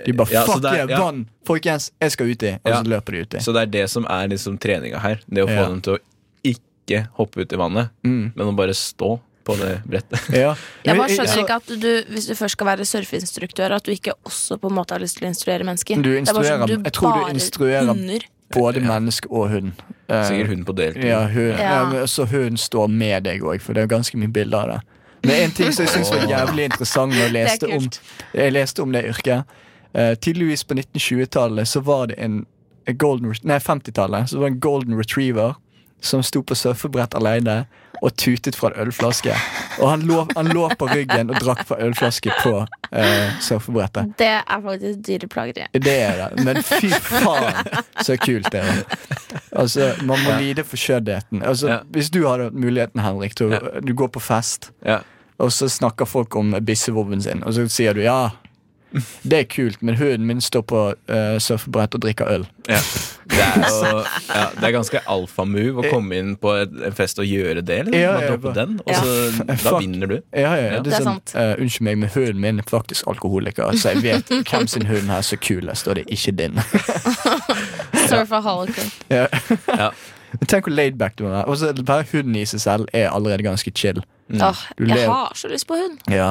De bare Ja, så 'fuck der- yeah, ja. vann! Folkens, jeg skal uti!' Og Ja. så Altså, løper de uti. Så det er det som er liksom treninga her. Det å få Ja. dem til å ikke hoppe ut i vannet, Mm. men å bare stå på det brettet. Ja. Men- Jeg bare skjønner så- ikke at du, hvis du først skal være surfeinstruktør, at du ikke også på en måte har lyst til å instruere mennesker. Du Det er bare sånn, instruerer- jeg tror du bare instruerer- Under. Både menneske og hund. Eh, Sikkert hun på deltid. Ja, hun, Ja. ja. men så hunden står med deg òg, for det er ganske mye bilder av det. Men en ting som jeg syns var jævlig interessant når jeg er leste, om, kult. jeg leste om det yrket eh, Tydeligvis på 1920-tallet så var det en en golden, ret- Nei, 50-tallet. Så var det en golden retriever som sto på surfebrett alene og tutet fra en ølflaske. Og han lå, han lå på ryggen og drakk fra ølflaske på eh, surfebrettet. Det er faktisk dyreplageri. Det er det, men fy faen så kult det er. Altså, man må lide for skjønnheten. Altså, Ja. Hvis du hadde hatt muligheten, Henrik, til å Ja. du går på fest, Ja. og så snakker folk om bissevoven sin, og så sier du ja. Det er kult, men hunden min står på uh, surfebrett og drikker øl. Ja. Det, er jo, ja, det er ganske alfamove å komme inn på et- en fest og gjøre det. Liksom. Ja, Bare ja, droppe bare- den, og Ja. så, da Fuck. vinner du. Ja, ja, ja. Det Det er er sånn, sant. eh, Unnskyld meg, men hunden min er faktisk alkoholiker, så jeg vet hvem sin hund her som er kulest, og det er ikke din. Surfaholic. Ja. Ja. Men Tenk hvor laidback du er. Og så bare hunden i seg selv er allerede ganske chill. Åh, Mm. Du jeg lever. har så lyst på hund. Ja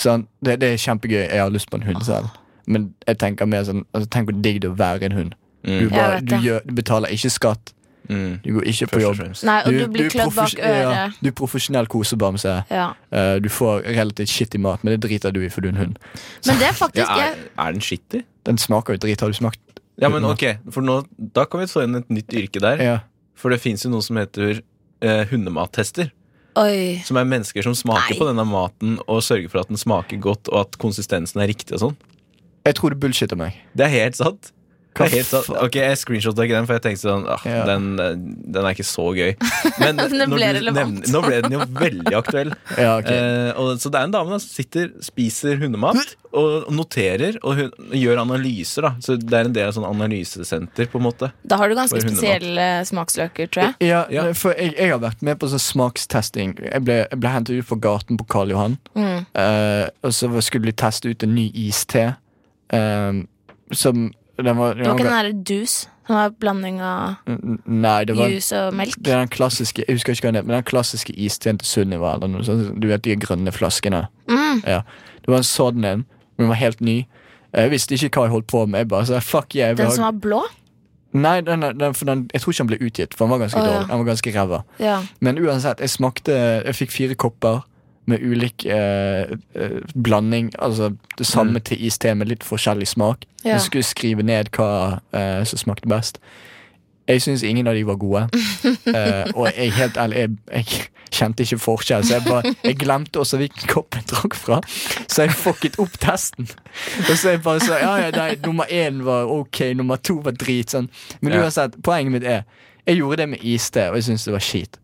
sånn, det, det er kjempegøy. Jeg har lyst på en Ah. hund selv. Men jeg tenker mer sånn altså, Tenk hvor digg det er å være en hund. Du, Mm. bare, vet du, det. gjør, du betaler ikke skatt. Mm. Du går ikke på Først og jobb. fremst. Nei, og du, blir er klødd bak profes- ja, øret. du er profesjonell kosebamse. Ja. Eh, du får relativt shitty mat, men det driter du i, for du er en hund. Men det er faktisk Ja, jeg, er, er den skittig? Den smaker jo drit. Har du smakt? Ja, men ok, for nå, Da kan vi få inn et nytt yrke der. Ja. For det fins jo noe som heter eh, hundemattester. Oi. Som er mennesker som smaker Nei. på denne maten og sørger for at den smaker godt og at konsistensen er riktig. og sånn Jeg tror du bullshitter meg. Det er helt sant. Det Hva er helt sant. faen? Ok, Jeg screenshotta ikke den, for jeg tenkte sånn ah, Ja. den, eh, den er ikke så gøy. Men Den når ble du relevant. nevner- nå ble den jo veldig aktuell. Ja, ok. Eh, og, så det er en dame da, som sitter, spiser hundemat og noterer og hun, gjør analyser. da Så det er en del av sånn analysesenter, på en måte. Da har du For ganske hundemat. spesielle eh, smaksløker, tror jeg. Ja, Ja. for jeg, jeg har vært med på sånn smakstesting. Jeg ble, jeg ble hentet ut på gaten på Karl Johan. Mm. Eh, og så var- skulle de teste ut en ny iste. ehm, som den var, Det var ikke den derre dus. Den var en blanding av N- Nei, det var det juice og melk. er den klassiske Jeg husker ikke hva den het, men den klassiske isteen til Sunniva. Eller noe sånt. Du vet de grønne flaskene. Mm. Ja. Det var en sånn en. men Den var helt ny. Jeg visste ikke hva jeg holdt på med. Jeg bare sa fuck yeah. jeg vil Den ha- som var blå. Nei, den, den, for den, jeg tror ikke han ble utgitt, for han var ganske Å, ja. dårlig. Han var ganske ræva. Ja. Men uansett, jeg smakte Jeg fikk fire kopper med ulik eh, eh, blanding. Altså det samme til iste med litt forskjellig smak. Ja. Jeg skulle skrive ned hva eh, som smakte best. Jeg syns ingen av de var gode. Eh, og jeg helt ærlig, jeg, jeg kjente ikke forskjell, så jeg, bare, jeg glemte også hvilken kopp jeg trakk fra. Så jeg fucket opp testen. Og så jeg bare sa ja, ja, nei, nummer én var ok, nummer to var drit. Sånn. Men Ja. uansett, poenget mitt er jeg gjorde det med iste, og jeg syns det var skit.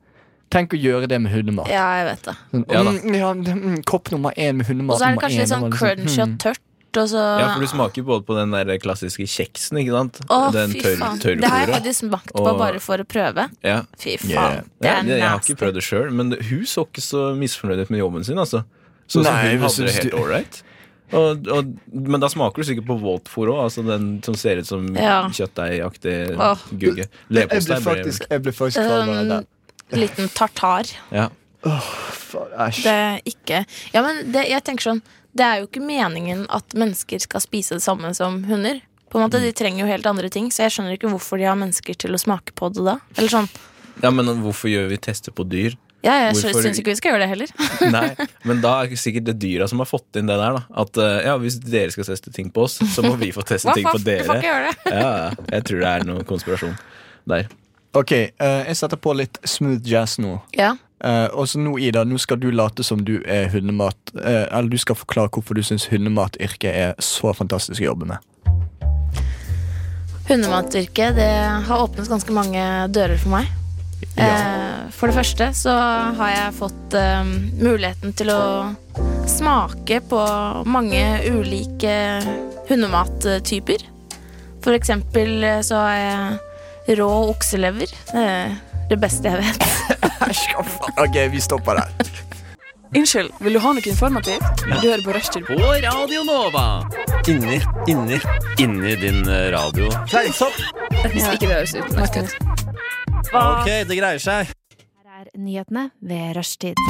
Tenk å gjøre det med hundemat. ja, jeg vet det. Sånn, Ja da. mm, ja, mm, kopp nummer én med hundemat. Og så er det nummer kanskje én, litt sånn og liksom, crunchy og mm. tørt. Og så Ja, for du smaker både på den der klassiske kjeksen, ikke sant? Ah. Å, den fy tørr- faen. tørrfôret. Det har jeg faktisk smakt på Og- bare for å prøve. Ja. Fy Yeah. faen. Det Ja, jeg, er jeg har nasty. ikke prøvd det sjøl, men hun så ikke så misfornøyd ut med jobben sin. Altså. Så, så Nei, hun men hadde det synes helt du- ålreit. Og, og, men da smaker du sikkert på Waltfòr òg, altså den som ser ut som Ja. kjøttdeigaktig Åh. gugge. Jeg ble Leverpostei ble- faktisk, jeg ble faktisk klar over det. Um, liten tartar. Ja. Faen, æsj. Det er ikke Ja, men det, jeg tenker sånn Det er jo ikke meningen at mennesker skal spise det samme som hunder. På en måte, Mm. De trenger jo helt andre ting, så jeg skjønner ikke hvorfor de har mennesker til å smake på det da. Eller sånn ja, men hvorfor gjør vi tester på dyr? Ja, jeg Hvorfor- syns ikke vi skal gjøre det heller. Nei, men da er det sikkert det dyra som har fått inn det der, da. At eh, ja, hvis dere skal teste ting på oss, så må vi få teste Hva ting på faen? Du får ikke dere. gjøre det. Ja, ja. jeg tror det er noe konspirasjon der. Ok, eh, jeg setter på litt smooth jazz nå. Ja. Eh, og så nå, Ida, nå skal du late som du er hundemat eh, Eller du skal forklare hvorfor du syns hundematyrket er så fantastisk å jobbe med. Hundematyrket det har åpnet ganske mange dører for meg. Eh, for det første så har jeg fått eh, muligheten til å smake på mange ulike hundemattyper. For eksempel eh, så har jeg rå okselever. Det er det beste jeg vet. Æsj, hva faen? Ok, vi stopper der. Unnskyld, vil du ha noe informativt? Du hører på Rushtid. På Radio Nova. Inni, inni, inni din eh, radio. Ok, det greier seg. Her er nyhetene ved rushtid.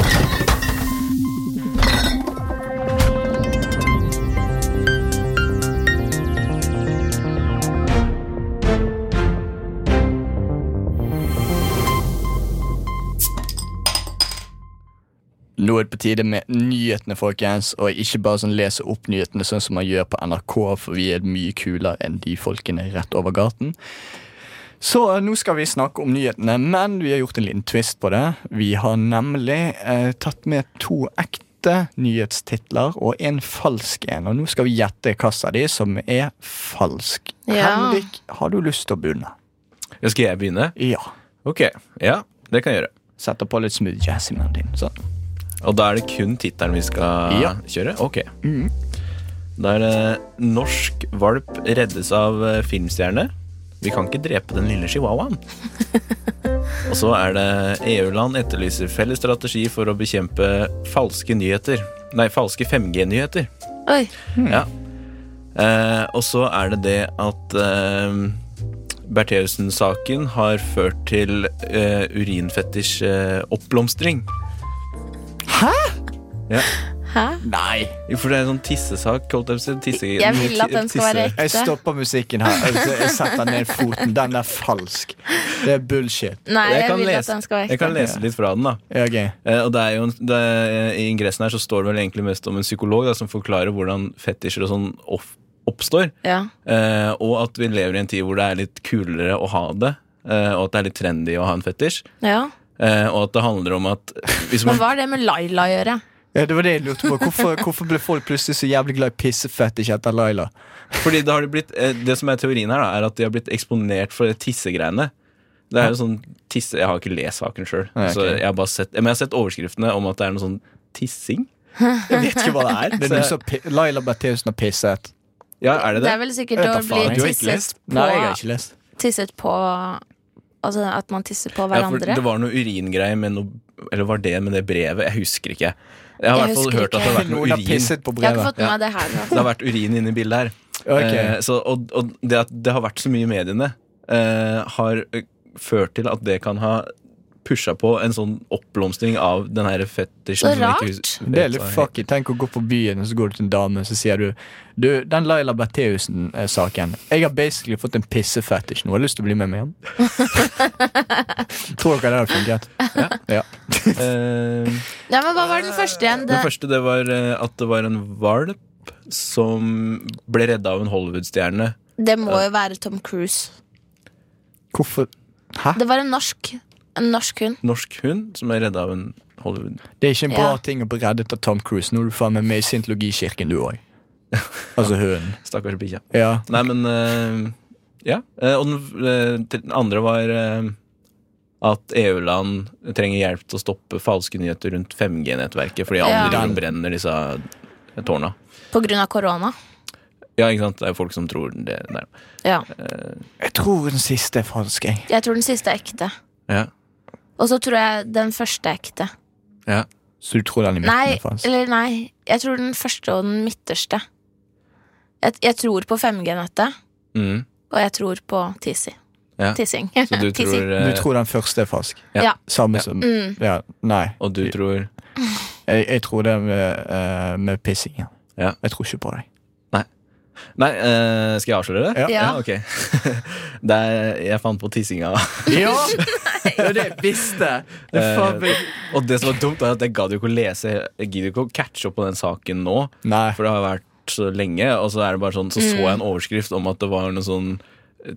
Nå er det på tide med nyhetene, folkens. Og ikke bare sånn lese opp nyhetene sånn som man gjør på NRK, for vi er mye kulere enn de folkene rett over gaten. Så eh, nå skal vi snakke om nyhetene, men vi har gjort en liten twist på det. Vi har nemlig eh, tatt med to ekte nyhetstitler og en falsk en. Og nå skal vi gjette kassa di, som er falsk. Ja. Henrik, har du lyst til å begynne? Ja, skal jeg begynne? Ja. Ok. Ja, det kan jeg gjøre. Setter på litt smooth jazz i munnen din. Sånn. Og da er det kun tittelen vi skal Ja. kjøre? Ok. Da er det 'Norsk valp reddes av eh, filmstjerne'. Vi kan ikke drepe den lille chihuahuaen. Og så er det 'EU-land etterlyser felles strategi for å bekjempe falske nyheter'. Nei, falske 5G-nyheter. Oi. Ja. Eh, og så er det det at eh, Bertheussen-saken har ført til eh, urinfetisj eh, oppblomstring. Hæ? Nei! Jo, For det er en sånn tissesak. Holdt jeg, på å si, tisse, Jeg vil at den skal være tisse- Jeg ekte. stopper musikken her. Altså, Jeg setter ned foten. Den er falsk. Det er bullshit. Nei, Jeg jeg kan vil lese- at den skal være Jeg kan ekte. lese litt fra den, da. Ja, ok. Eh, og det er jo en, det er, I ingressen her så står det vel egentlig mest om en psykolog da, som forklarer hvordan fetisjer og sånn off, oppstår. Ja. Eh, og at vi lever i en tid hvor det er litt kulere å ha det. eh, og at det er litt trendy å ha en fetisj. ja. Eh, og at det handler om at hvis man Men hva har det med Laila å gjøre? Ja, det var det jeg lurte på. Hvorfor, hvorfor ble folk plutselig så jævlig glad i pissefetisj etter Laila? Fordi da har de blitt eh, Det som er teorien her da Er at de har blitt eksponert for det tissegreiene Det er jo sånn tisse Jeg har ikke lest saken selv Nei, Så ok. jeg har bare sett Men jeg har sett overskriftene om at det er noe sånn tissing Jeg vet ikke hva det er Så Det er noe jeg- som pi- Laila Bertheussen har pisset. Ja, er det Det det? er vel Jeg sikkert å vet da bli faen, du har ikke tisset lest. Nei, jeg har på, ikke lest. tisset på Altså at man tisser på Ja, for hverandre. det var noe uringreier med noe Eller var det med det brevet? Jeg husker ikke Jeg har i Jeg hvert fall husker hørt at det har vært noe Noen har urin pisset på Jeg har ikke brevet. fått med meg det her. Det har vært urin inne i bildet her Eh, Ok. så, og, og det at det har vært så mye i mediene, eh, har eh, ført til at det kan ha pusha på en sånn oppblomstring av den her fetisjen. Så som jeg ikke hus- rart. vet Det er litt hva heter. fucky. Tenk å gå på byen, og så går du til en dame, og så sier du Du, den Laila Bertheussen-saken Jeg har basically fått en pissefetisj nå. Har du lyst til å bli med meg hjem? Tror dere det hadde funket? Ja. Eh, Ja, men Hva var den første igjen? Det, Den første det var eh, at det var en valp som ble redda av en Hollywood-stjerne. det må jo være Tom Cruise. Hvorfor Hæ? Det var en norsk En norsk hund. Norsk hund som er redda av en Hollywood Det er ikke en bra Ja. ting å bli reddet av Tom Cruise. Nå er du faen meg med i scientologikirken, du òg. Altså hunden. Stakkars bikkje. Ja. Nei, men eh, Ja. Eh, og den, eh, til- den andre var eh, at EU-land trenger hjelp til å stoppe falske nyheter rundt 5G-nettverket, fordi andre Ja. driver og brenner disse eh, tårna. På grunn av korona. Ja, ikke sant? Det er jo folk som tror det der. Eh, Ja. Jeg tror den siste er falsk, jeg. Jeg tror den siste er ekte. Ja. Og så tror jeg den første er ekte. ja. Så du tror den i midten Nei, er falsk? eller nei. Jeg tror den første og den midterste. Jeg, jeg tror på 5G-nettet, Mm. og jeg tror på Tisi. Ja. Tissing. Så du Tissing. tror, eh, Du tror den første er falsk? Ja. Ja. Samme Ja. som Mm. Ja, nei. Og du tror Jeg, jeg tror det med, eh, med pissingen. Ja. Jeg tror ikke på deg. Nei, eh, skal jeg avsløre det? Ja. Ja. ok. det er, jeg fant på tissinga. Ja! Det er det jeg visste! Det er faen meg Og det som var dumt, er at jeg gadd jo ikke å lese Jeg gidder ikke å catche opp på den saken nå. Nei. For det har vært så lenge, og så er det bare sånn Så så jeg en overskrift om at det var noe sånn eh,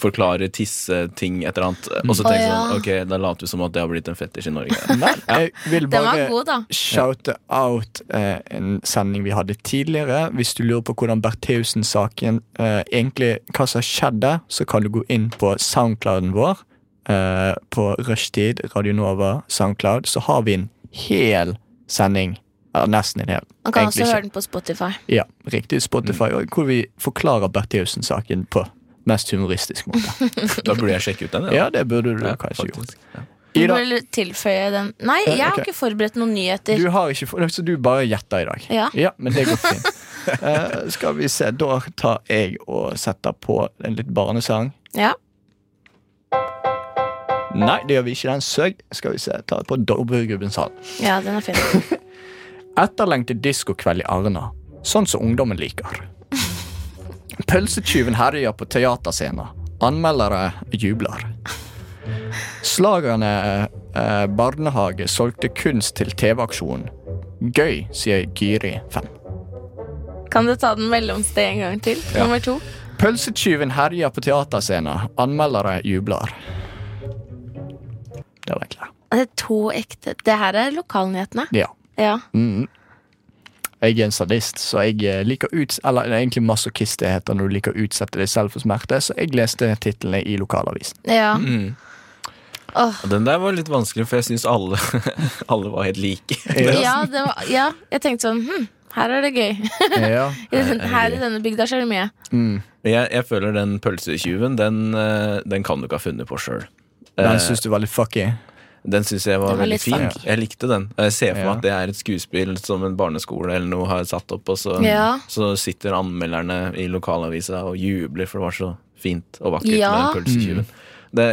Forklare tisseting, et eller annet. Og så tenkte jeg sånn, Å, ok, da later vi som at det har blitt en fetisj i Norge. Nei, jeg vil Den var bare god, da. shoute out eh, en sending vi hadde tidligere. Hvis du lurer på hvordan Bertheussen-saken eh, egentlig Hva som skjedde, så kan du gå inn på soundclouden vår. Eh, på rushtid, Radio Nova, Soundcloud, så har vi en hel sending. Ja, nesten en hel. Man kan også Egentlig høre ikke. den på Spotify. Ja, riktig. Spotify, og hvor vi forklarer Bertheussen-saken på mest humoristisk måte. Da burde jeg sjekke ut den. Ja, det burde du Ja, kanskje gjort. faktisk. Ja. Du Ida, bør tilføye den Nei, Ja, jeg har ok. ikke forberedt noen nyheter. Du har ikke fått Så du bare gjetter i dag? Ja. men det går fint. Eh, skal vi se, da tar jeg og setter på en litt barnesang. Ja. Nei, det gjør vi ikke. Den søg. Skal vi se, ta på Dovregubbens hall. ja, den er fin. Etterlengtet diskokveld i Arna. Sånn som ungdommen liker. Pølsetyven herjer på teaterscener. Anmeldere jubler. Slagerne eh, barnehage solgte kunst til TV-aksjonen. Gøy, sier Gyri 5. Kan du ta den mellomste en gang til? Nummer to. Pølsetyven herjer på teaterscener. Anmeldere jubler. Der var jeg klar. Det er to ekte. Det her er lokalnyhetene. Ja. Ja. Jeg er en sadist, så jeg eh, liker ut... Eller det er egentlig masochist det heter når du Mm, liker å utsette deg selv for smerte, så jeg leste titlene i lokalavisen. ja. Åh. Den der var litt vanskelig, for jeg syns alle, alle var helt like. Ja, det var, ja, jeg tenkte sånn hm, Her er det gøy. Ja. Her i denne bygda skjer det mye. Mm. Men jeg, jeg føler den pølsetyven, den, eh, den kan du ikke ha funnet på Eh, sjøl. Den syns du var litt fucky. Den syns jeg var, Den var veldig litt fin. funky. Jeg likte den. Og Jeg ser for meg Ja. at det er et skuespill som en barneskole eller noe har satt opp, og så, Ja. så sitter anmelderne i lokalavisa og jubler, for det var så fint og vakkert Ja. med pølsetyven. Mm. Det,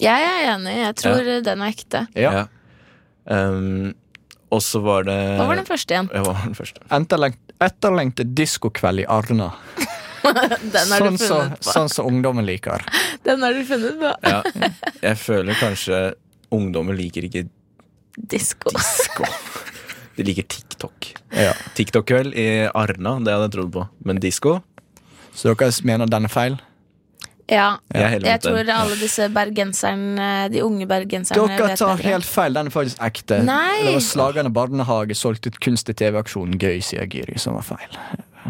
Jeg er enig. Jeg tror eh, den er ekte. Ja. ja. Um, og så var det Hva var den første igjen? Ja, hva var den første? Etterlengt, etterlengtet diskokveld i Arna. Den har Sånn du som funnet på. sånn som ungdommen liker. Den har du funnet på. Ja. Jeg føler kanskje ungdommer liker ikke Disko. disko. De liker TikTok. Ja. TikTok-kveld i Arna, det hadde jeg trodd på. Men disko? Så dere mener den er feil? Ja. Jeg er heller Jeg mot den. tror alle disse bergenserne, de unge bergenserne Dere vet tar bedre. helt feil. Den er faktisk ekte. Nei! Det var Slagerne barnehage solgte ut kunst til TV-aksjonen Gøy, sier Gyri, som var feil.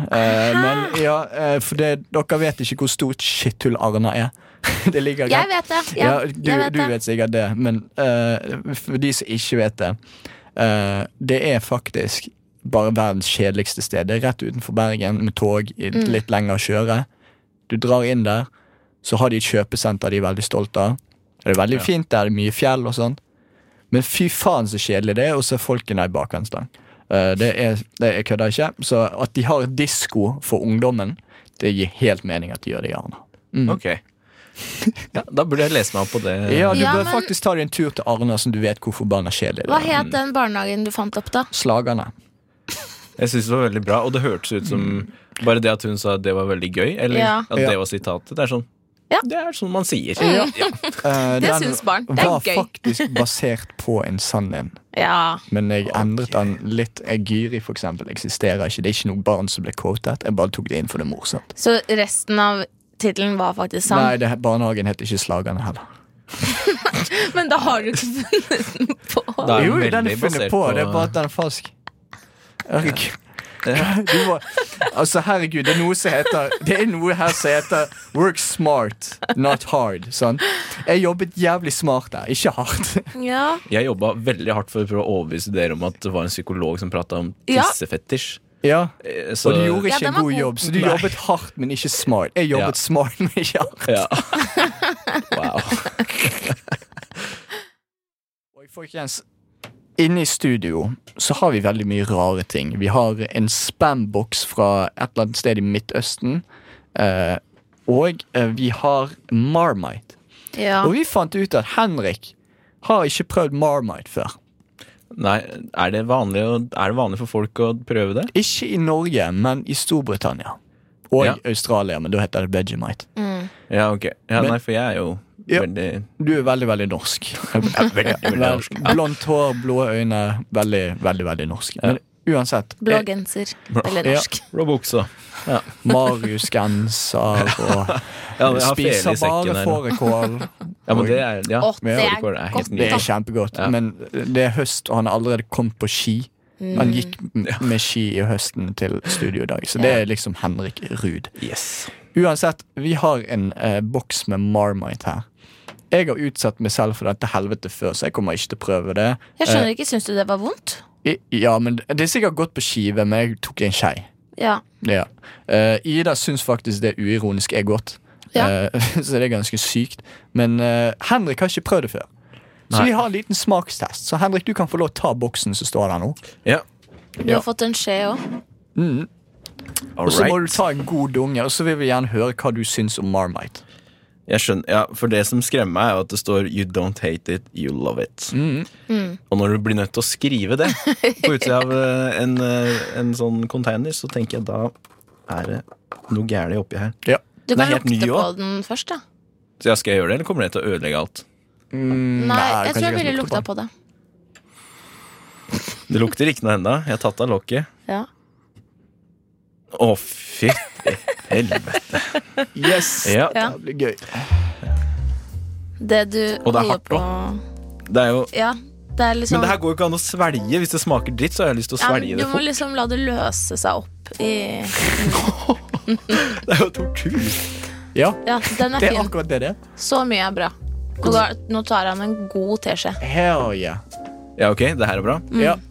Eh, men ja, eh, for det, dere vet ikke hvor stort skitthull Arna er. Det ligger Jeg vet det. Ja, Ja, du, jeg vet du det. vet sikkert det, men eh, for de som ikke vet det eh, Det er faktisk bare verdens kjedeligste sted. Det er rett utenfor Bergen med tog i Mm. litt lenger å kjøre. Du drar inn der, så har de et kjøpesenter de er veldig stolte av. Det er veldig fint der, det er mye fjell og sånn. Men fy faen så kjedelig det er å se folkene i bakhåndstang. Eh, det er, det er kødder ikke. Så at de har disko for ungdommen, det gir helt mening at de gjør det i Arna. Ok. Ja, da burde jeg lese meg opp på det. Ja, du Ja, bør men- faktisk ta deg en tur til Arna, som du vet hvor forbanna kjedelig det Hva er. het den barnehagen du fant opp, da? Slagerne. Jeg synes det var veldig bra, og det hørtes ut som Bare det at hun sa at det var veldig gøy, eller Ja. at Ja. det var sitatet. Det er sånn Ja. Mm. Det er sånn man sier. Ja. Eh, Det den syns barn. Det er var gøy. faktisk basert på en sann en, Ja. men jeg endret den litt. Eh, Gyri, for eksempel, eksisterer ikke. Det er ikke noe barn som ble quotet. Jeg bare tok det inn for det er morsomt. Så resten av tittelen var faktisk Nei, sann. det, barnehagen heter ikke Slagerne heller. Men da har du ikke funnet den på. Da er Jo, veldig den er funnet basert på, det er bare at den er falsk. Herregud. Du må, altså, herregud, det er noe som heter Det er noe her som heter work smart, not hard. Sant? Jeg jobbet jævlig smart der, ikke hardt. Ja. Jeg jobba veldig hardt for å prøve å overbevise dere om at det var en psykolog som prata om Ja. tissefetisj. Ja, Eh, og Så, du gjorde Ja, ikke den en var god god. jobb, så du Nei. jobbet hardt, men ikke smart. Jeg Ja. jobbet smart, men ikke hardt. ja. Wow. Og folkens, inne i studio så har vi veldig mye rare ting. Vi har en spamboks fra et eller annet sted i Midtøsten. eh, og eh, vi har Marmite. ja. Og vi fant ut at Henrik har ikke prøvd Marmite før. Nei, er det, vanlig å, er det vanlig for folk å prøve det? Ikke i Norge, men i Storbritannia. Og Ja. Australia, men da heter det Vegemite. Mm. Ja, ok. Ja, Men- nei, for jeg er jo Ja. veldig Du er veldig, veldig norsk. veldig norsk. Blondt hår, blå øyne. Veldig, veldig, veldig norsk. Men uansett. Blå eh, genser. Eller Ja. norsk. Blå buksa. Marius-genser og Ja, jeg har fele Spiser i sekken bare her. nå. fårikål. Ja, men det er, ja, Å, det er fårikål helt godt, nydelig. Det er kjempegodt. Ja. Men det er høst, og han har allerede kommet på ski. Han gikk m- med ski i høsten til studio i dag, så det er liksom Henrik Ruud. Yes. Uansett, vi har en eh, boks med Marmite her. Jeg har utsatt meg selv for dette helvete før, så jeg kommer ikke til å prøve det. Jeg Eh. skjønner ikke. Syns du det var vondt? I, ja, men Det er sikkert godt på skive, men jeg tok en skei. Ja. Ja. Eh, Ida syns faktisk det uironisk er godt, Ja. Eh, så det er ganske sykt. Men eh, Henrik har ikke prøvd det før. Så Nei. vi har en liten smakstest. Så Henrik, du kan få lov å ta boksen som står der nå. Ja. Du Ja. har fått en skje òg. All Og så må right. du ta en god dunge, og så vil vi gjerne høre hva du syns om Marmite. Jeg skjønner, ja, For det som skremmer meg, er jo at det står 'You don't hate it, you love it'. Mm. Og når du blir nødt til å skrive det på utsida av eh, en, eh, en sånn container, så tenker jeg da er det noe gærent oppi her. Ja. Du Den er kan helt ny lukte på også. Mm, den først, da. Så ja, Skal jeg gjøre det, eller kommer det til å ødelegge alt? Mm, Nei, kanskje jeg tror jeg skal ville lukte lukta på det. Det lukter ikke noe ennå. Jeg har tatt av lokket. Ja. Å, fy helvete. den. Yes! Ja. Ja. Det blir gøy. Det du Og det er holder hardt på Det er jo, Ja, det er liksom men det her går jo ikke an å svelge. Hvis det smaker dritt, så har jeg lyst til å ja, men svelge Du det må fort. liksom la det løse seg opp i Det er jo tortur. Ja, Ja, den er det er fin. akkurat det det er. Så mye er bra. Og da, nå tar han en god teskje. Hell yeah. Ja, ok, det her er bra. Ja. Mm.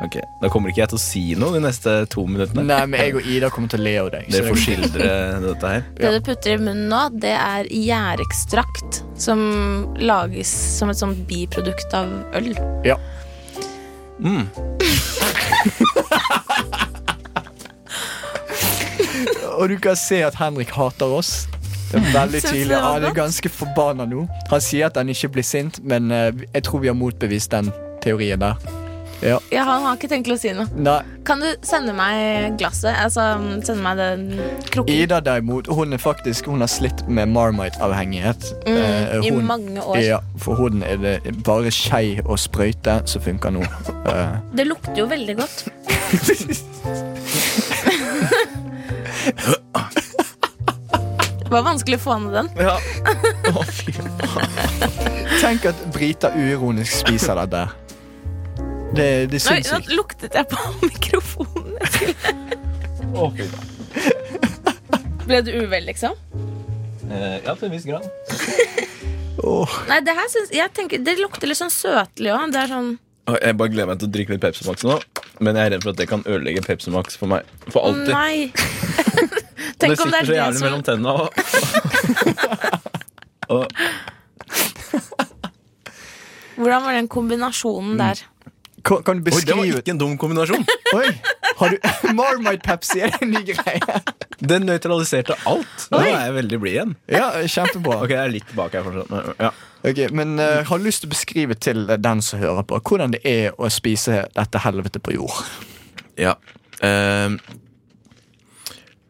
Ok, Da kommer ikke jeg til å si noe de neste to minuttene. Nei, men jeg og Ida kommer til å le av deg. så Dere får skildre dette her. Det du putter i munnen nå, det er gjærekstrakt som lages som et sånt biprodukt av øl. Ja. Og du kan se at Henrik hater oss. Det er veldig Synes du tydelig. det var Han er godt? ganske forbanna nå. Han sier at han ikke blir sint, men eh, jeg tror vi har motbevist den teorien der. Ja, han har ikke tenkt å si noe. Nei, Kan du sende meg glasset? Altså, sende meg den krukken? Ida derimot, hun er faktisk Hun har slitt med Marmite-avhengighet. Eh, Mm, I hun- mange år. Ja, for hun er det bare skei og sprøyte som funker nå. Eh, Det lukter jo veldig godt. Det var vanskelig å få ned den. tenk at briter uironisk spiser dette. Det, det er Oi, nå sinnssykt. luktet jeg på mikrofonen. Jeg skulle- Ble du uvel, liksom? Eh, Ja, til en viss grad. Åh, Nei, det her syns jeg tenker, Det lukter litt sånn søtlig òg. Det er sånn Jeg bare gleder meg til å drikke litt Pepsi Max nå, men jeg er redd for at det kan ødelegge Pepsi Max for meg. For alltid. Nei. det Tenk om det sitter er så det jævlig som mellom tennene og, og Hvordan var den Mm. kombinasjonen der? kan, kan du Oi, det beskrive var ikke en dum kombinasjon! Oi, har du Marmite Pepsi er det en ny greie? Den nøytraliserte alt. Nå er jeg veldig blid igjen. Ja, kjempebra. Ok, jeg er litt bak her fortsatt. men- Ja. Ok, men eh, har lyst til å beskrive til den som hører på, hvordan det er å spise dette helvete på jord. ja. Ehm,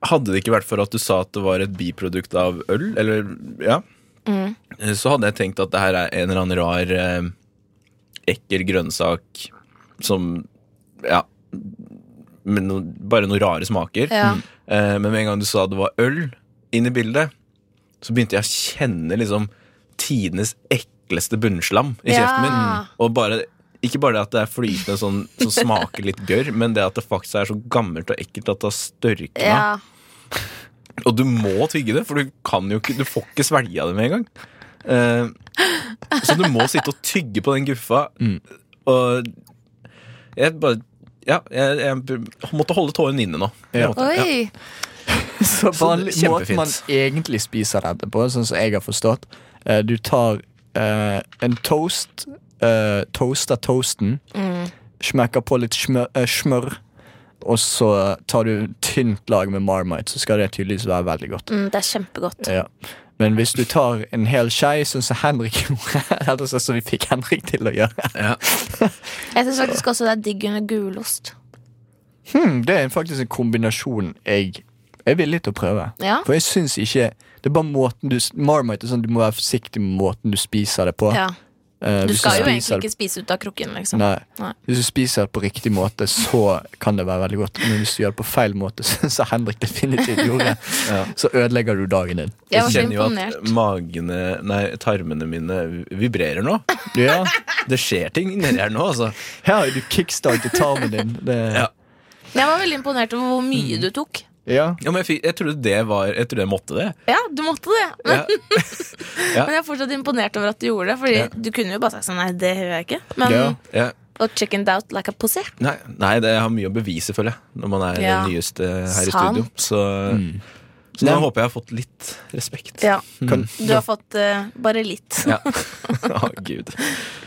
hadde det ikke vært for at du sa at det var et biprodukt av øl, eller ja, Mm. så hadde jeg tenkt at det her er en eller annen rar eh, ekkel grønnsak som Ja. Med no, bare noen rare smaker. Ja. Eh, Men med en gang du sa det var øl inn i bildet, så begynte jeg å kjenne liksom tidenes ekleste bunnslam i Ja. kjeften min. Og bare, ikke bare det at det er flytende sånn, som smaker litt gørr, men det at det faktisk er så gammelt og ekkelt at det har størkna. Ja. Og du må tygge det, for du, kan jo ikke, du får ikke svelge det med en gang. Eh, så du må sitte og tygge på den guffa. Og jeg bare Ja, jeg, jeg måtte holde tårene inne nå. Ja. Jeg måtte- ja. Oi! Så Så vanlig det er måten man kjempefint. egentlig spiser dette på, sånn som jeg har forstått eh, Du tar eh, en toast, eh, toaster toasten, smekker på litt smør, eh, smør, og så tar du tynt lag med Marmite, så skal det tydeligvis være veldig godt. Mm, det er kjempegodt. Ja. Men hvis du tar en hel skei, sånn som Henrik gjorde, eller sånn som vi fikk Henrik til å gjøre Jeg syns faktisk også det er digg under gulost. hmm, Det er faktisk en kombinasjon jeg er villig til å prøve. Ja. For jeg syns ikke Det er bare måten du Marmite er sånn du må være forsiktig med måten du spiser det på. ja. Eh, Du hvis skal jo spiser egentlig ikke spise ut av krukken, liksom. Nei. Nei. Hvis du spiser det på riktig måte, så kan det være veldig godt. Men hvis du gjør det på feil måte, sånn som Henrik definitivt gjorde, Ja. så ødelegger du dagen din. Jeg var så kjenner jo imponert. at magene, nei, tarmene mine vibrerer nå. Ja, Det skjer ting nedi her nå, altså. Her har du kickstartet tarmen din. Det, Ja. Men Jeg var veldig imponert over hvor Mm. mye du tok. ja. Ja, men jeg, fikk, jeg trodde det var Jeg trodde jeg måtte det. Ja, du måtte det. Men, Ja. Ja. men jeg er fortsatt imponert over at du gjorde det. Fordi Ja. du kunne jo bare sagt sånn, nei, det gjør jeg ikke. Men Ja. Ja. og chickened out like a pussy. Nei, nei, det jeg har mye å bevise, føler jeg, når man er Ja. den nyeste her i Sant. studio. Så, Mm. så nå håper jeg har fått litt respekt. Ja, Kan, du har fått eh, bare litt. Ja. Å, gud.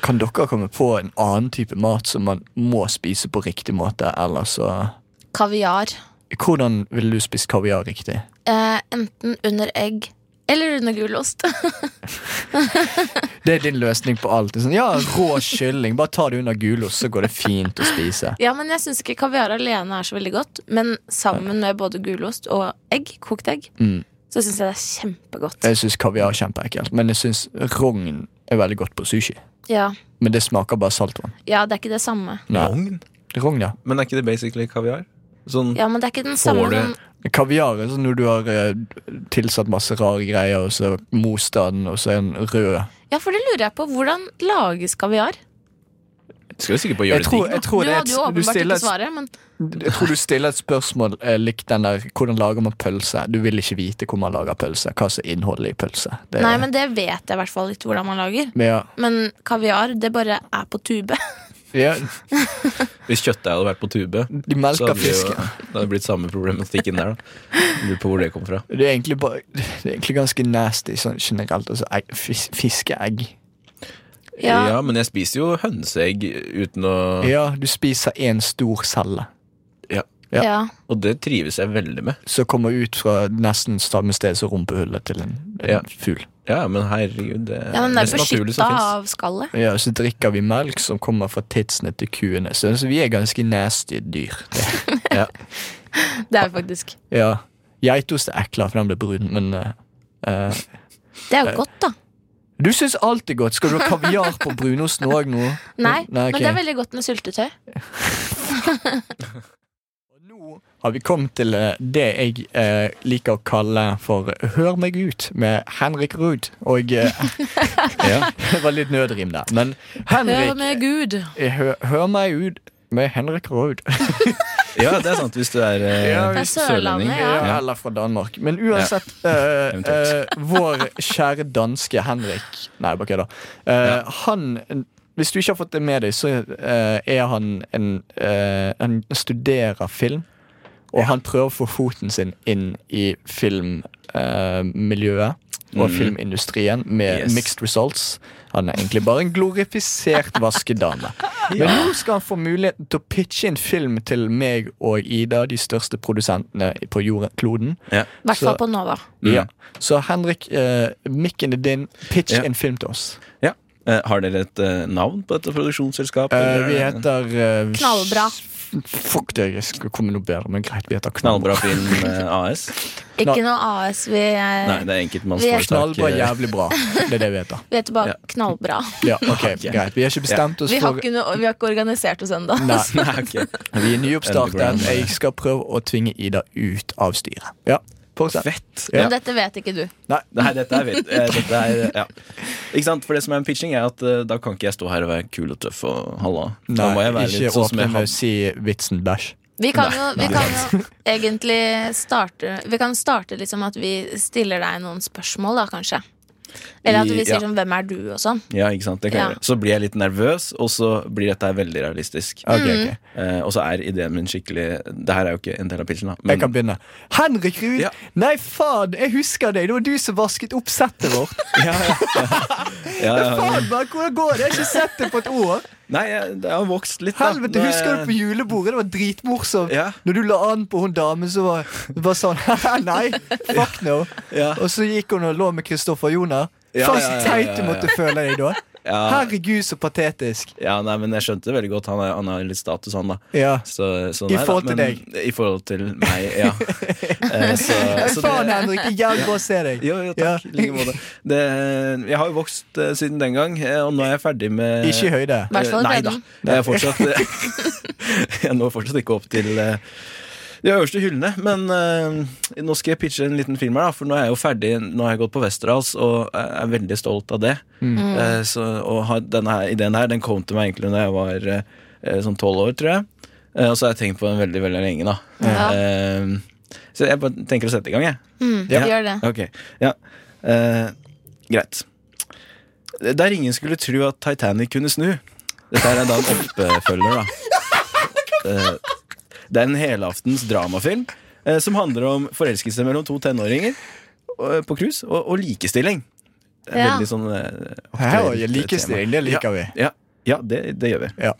Kan dere komme på en annen type mat som man må spise på riktig måte? Eller så Kaviar. Hvordan ville du spist kaviar riktig? Eh, enten under egg eller under gulost. Det er din løsning på alt. Det er Sånn, ja, Rå kylling. Bare ta det under gulost, så går det fint å spise. ja, men jeg syns ikke kaviar alene er så veldig godt. Men sammen med både gulost og egg, kokt egg, Mm. Eh. så syns jeg det er kjempegodt. Jeg syns kaviar er kjempeekkelt, men jeg syns rogn er veldig godt på sushi. Ja. Men det smaker bare saltvann. ja, det er ikke det samme. Nei. Rogn? Rogn, ja. Men er ikke det basically kaviar? Sånn Ja, men det er ikke den samme du- som- Kaviar er sånn når du har eh, tilsatt masse rare greier, og så most av den, og så er den rød. Ja, for det lurer jeg på. Hvordan lages kaviar? Skal jo sikkert bare Jeg gjøre det tror, digg. jeg tror du det er hadde jo et, du åpenbart stiller ikke et svaret, men Jeg tror du stiller et spørsmål eh, likt den der 'Hvordan lager man pølse?' Du vil ikke vite hvor man lager pølse. Hva som er innholdet i pølse. Det, Nei, men det vet jeg i hvert fall litt hvordan man lager. men ja, Men kaviar, det bare er på tube. ja, Hvis kjøttdeig hadde vært på tube, de så melker hadde det, jo, fisken. det hadde blitt samme problematikken der. da Lurer på hvor det kom fra. Det er egentlig, bare, det er egentlig ganske nasty sånn generelt. Altså, egg, fis, fiskeegg. Ja. Ja, men jeg spiser jo hønseegg uten å Ja, du spiser én stor celle ja. Ja. Og det trives jeg veldig med. som kommer ut fra nesten samme sted som rumpehullet til en, en Ja. fugl. Ja, men herregud, det ja men det mest er naturlige beskytta som finnes. av skallet. Ja, så drikker vi melk som kommer fra tidsene til kuene. Så, så vi er ganske nasty dyr. Det er faktisk Ja. Geitost er eklere, for den blir brun, men eh, eh, Det er jo godt, da. Du syns alt er godt. Skal du ha kaviar på brunosten òg nå? Nei, Nei, ok. men det er veldig godt med syltetøy. Nå har vi kommet til eh, det jeg eh, liker å kalle for Hør meg ut med Henrik Ruud. Og eh, Det var litt nødrim der. Men Hør Henrik med Gud. eh, Hør, hør meg ut med Henrik Ruud. Ja, det er sant, hvis du er eh, Ja, hvis- sørlending. Sørlandet, ja. Eller fra Danmark. Men uansett eh, Eventuelt. eh, Vår kjære danske Henrik Nei, bare kødda. Eh, Han Hvis du ikke har fått det med deg, så eh, er han en eh, Han studerer film, og han prøver å få foten sin inn i filmmiljøet. og filmindustrien med Mhm. Yes. mixed results. Han er egentlig bare en glorifisert vaskedame. Men nå skal han få muligheten til å pitche en film til meg og Ida, de største produsentene på jorden, kloden. I hvert Så- fall på Nova. Mm. Ja. Så Henrik, eh, mikken er din. Pitch Ja. en film til oss. Eh, har dere et eh, navn på dette produksjonsselskapet? Eh, eller? vi heter eh, Knallbra. Fuck det, jeg skulle komme noe bedre, men greit, vi heter Knallbra. Knallbra Film eh, AS? Ikke noe AS. Vi, er- Nei, det er Eh, Vi er enkeltmannsforetak. Knallbra, eh, jævlig bra. Det er det vi heter. vi heter bare Ja. Knallbra. Ja, ok, greit. Vi har ikke bestemt oss Vi har for ikke, noe, vi har ikke organisert oss ennå. Nei, Nei, ok. vi er nyoppstartet. Underground. Jeg skal prøve å tvinge Ida ut av styret. Ja, fortsett. Fett. Ja. Ja. Men dette vet ikke du. Nei, dette er vet eh, dette er, eh, ja. Ikke sant, for det som er en pitching er at eh, da kan ikke jeg stå her og være kul og tøff og halla. Da må Nei, jeg være ikke litt sånn som åpne jeg med å har. si vitsen bæsj. Vi kan Nei, jo, vi kan jo egentlig starte Vi kan starte liksom at vi stiller deg noen spørsmål, da, kanskje. Eller at vi I- sier ja. sånn 'Hvem er du?' og sånn. Ja, ikke sant, det kan jeg Ja. gjøre. Så blir jeg litt nervøs, og så blir dette her veldig realistisk. Ok, Mm. ok. Eh, og så er ideen min skikkelig Det her er jo ikke en del av pitchen, da. Jeg kan begynne. Henrik Mm. Ruud! Ja. Nei, faen, jeg husker deg! Det var du som vasket opp settet vårt. ja, ja, ja, ja. Faen, bare, hvordan går det? Jeg har ikke sett det på et år. Nei, jeg, det har vokst litt, da. Helvete, Nå er Husker jeg- du på julebordet? Det var dritmorsomt. eh, Ja. Når du la an på hun damen, så var bare sånn Nei, fuck no. Ja. Og så gikk hun og lå med Kristoffer Joner. Ja, Faen, ja, så ja, teit ja, du ja. måtte føle deg da. Ja. Herregud, så patetisk. Ja, nei, men jeg skjønte det veldig godt. Han, er, han har litt status, han, da. Ja. Så, så I nei da, forhold til men- I forhold til meg, ja. Eh, så, så Faen, Henrik. det er Jævlig bra å se deg. Jo, jo, takk. I like måte. Det, jeg har jo vokst eh, siden den gang, eh, og nå er jeg ferdig med Ikke i høyde. I hvert fall i Nei da. bredden. Jeg, er fortsatt, jeg når fortsatt ikke opp til eh, de øverste hyllene. Men eh, nå skal jeg pitche en liten film her, da, for nå er jeg jo ferdig. Nå har jeg gått på Westerdals og er veldig stolt av det. Mm. Eh, så, og har, denne her, ideen her den kom til meg egentlig da jeg var eh, eh, sånn tolv år, tror jeg. Eh, og så har jeg tenkt på den veldig veldig lenge. da Ja. Eh, Så jeg bare tenker å sette i gang, jeg. Mm, Ja. Gjør det. Ok, ja Eh, Greit Der ingen skulle tro at Titanic kunne snu Dette er da en oppfølger da Eh, Det er en helaftens dramafilm eh, Som handler om forelskelse mellom to tenåringer eh, På krus og, og likestilling Det er Ja. Veldig sånn eh, Her var aktuelt, eh, jeg likestilling. Det tema. liker vi. Ja, ja det, det gjør vi Ja.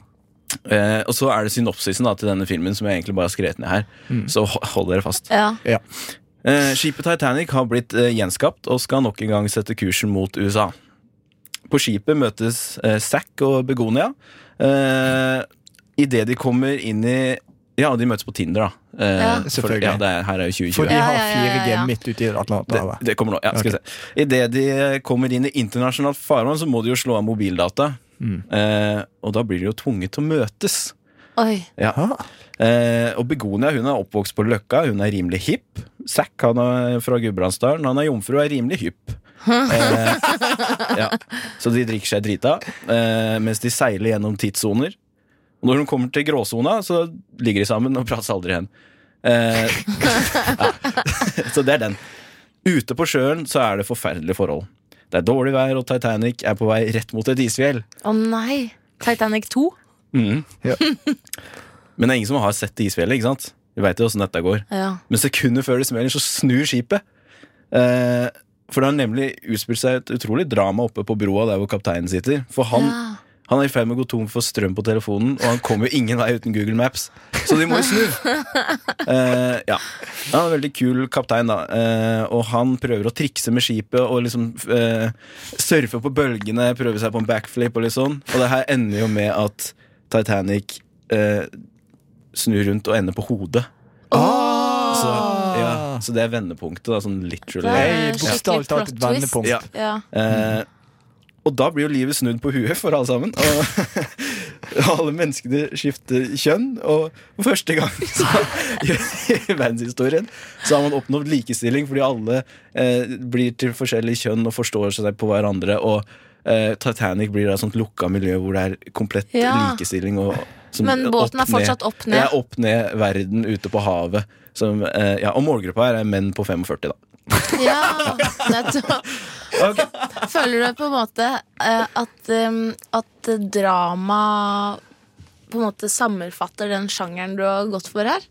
Eh, og så er det synopsisen da, til denne filmen Som jeg egentlig bare har skrevet ned her Mm. Så ho- hold dere fast Ja. Eh, Skipet Titanic har blitt eh, gjenskapt og skal nok en gang sette kursen mot USA. På skipet møtes eh, Zack og Begonia. Eh, Idet de kommer inn i Ja, de møtes på Tinder, da. Eh, Ja. For, Selvfølgelig. ja, det er, her er jo 2020. For de Ja, har ja, ja, ja, 4G ja. midt ute i Det, Atlanterhavet. det kommer nå. Ja, skal vi se. Idet de kommer inn i internasjonalt farvann, så må de jo slå av mobildata. Eh, og da blir de jo tvunget til å møtes. Oi. Ja. Ah. Eh, og Begonia hun er oppvokst på Løkka, hun er rimelig hipp. Zack han er fra Gudbrandsdalen, han er jomfru og er rimelig hipp. Eh, ja. Så de drikker seg drita eh, mens de seiler gjennom tidssoner. Og når de kommer til gråsona, så ligger de sammen og prates aldri igjen. Eh, ja. Så det er den. Ute på sjøen så er det forferdelige forhold. Det er dårlig vær, og Titanic er på vei rett mot et isfjell. Å nei! Titanic 2? Mhm. Ja. Men det er ingen som har sett isfjellet, ikke sant? Vi veit jo åssen dette går. Ja. Men sekundet før det smeller, så snur skipet. Eh, for det har nemlig utspilt seg et utrolig drama oppe på broa der hvor kapteinen sitter. For han, Ja. han er i ferd med å gå tom for strøm på telefonen, og han kommer jo ingen vei uten Google Maps. Så de må jo snu. Eh, ja. Han er en veldig kul kaptein, da. Eh, og han prøver å trikse med skipet og liksom eh, surfe på bølgene, prøve seg på en backflip og litt sånn. Og det her ender jo med at Titanic eh, snur rundt og ender på hodet. Så, ja, Ah. så det er vendepunktet, da, sånn literally. Ah! Det er Jeg er skikkelig bokstavelig talt et plot twist. vendepunkt. Ja. Ja. Eh, og da blir jo livet snudd på huet for alle sammen. Og alle menneskene skifter kjønn. Og for første gang så, i i verdenshistorien så har man oppnådd likestilling fordi alle eh, blir til forskjellig kjønn og forstår seg på hverandre. Og eh, Titanic blir da et sånt lukka miljø hvor det er komplett Ja. likestilling. Og, som Men båten opp er ned. fortsatt opp Det ned. er opp ned verden ute på havet. Som, eh, ja, og målgruppa her er menn på 45, da. Ja, nettopp. Ok. Føler du på en måte eh, at, em, at drama på en måte sammenfatter den sjangeren du har gått for her?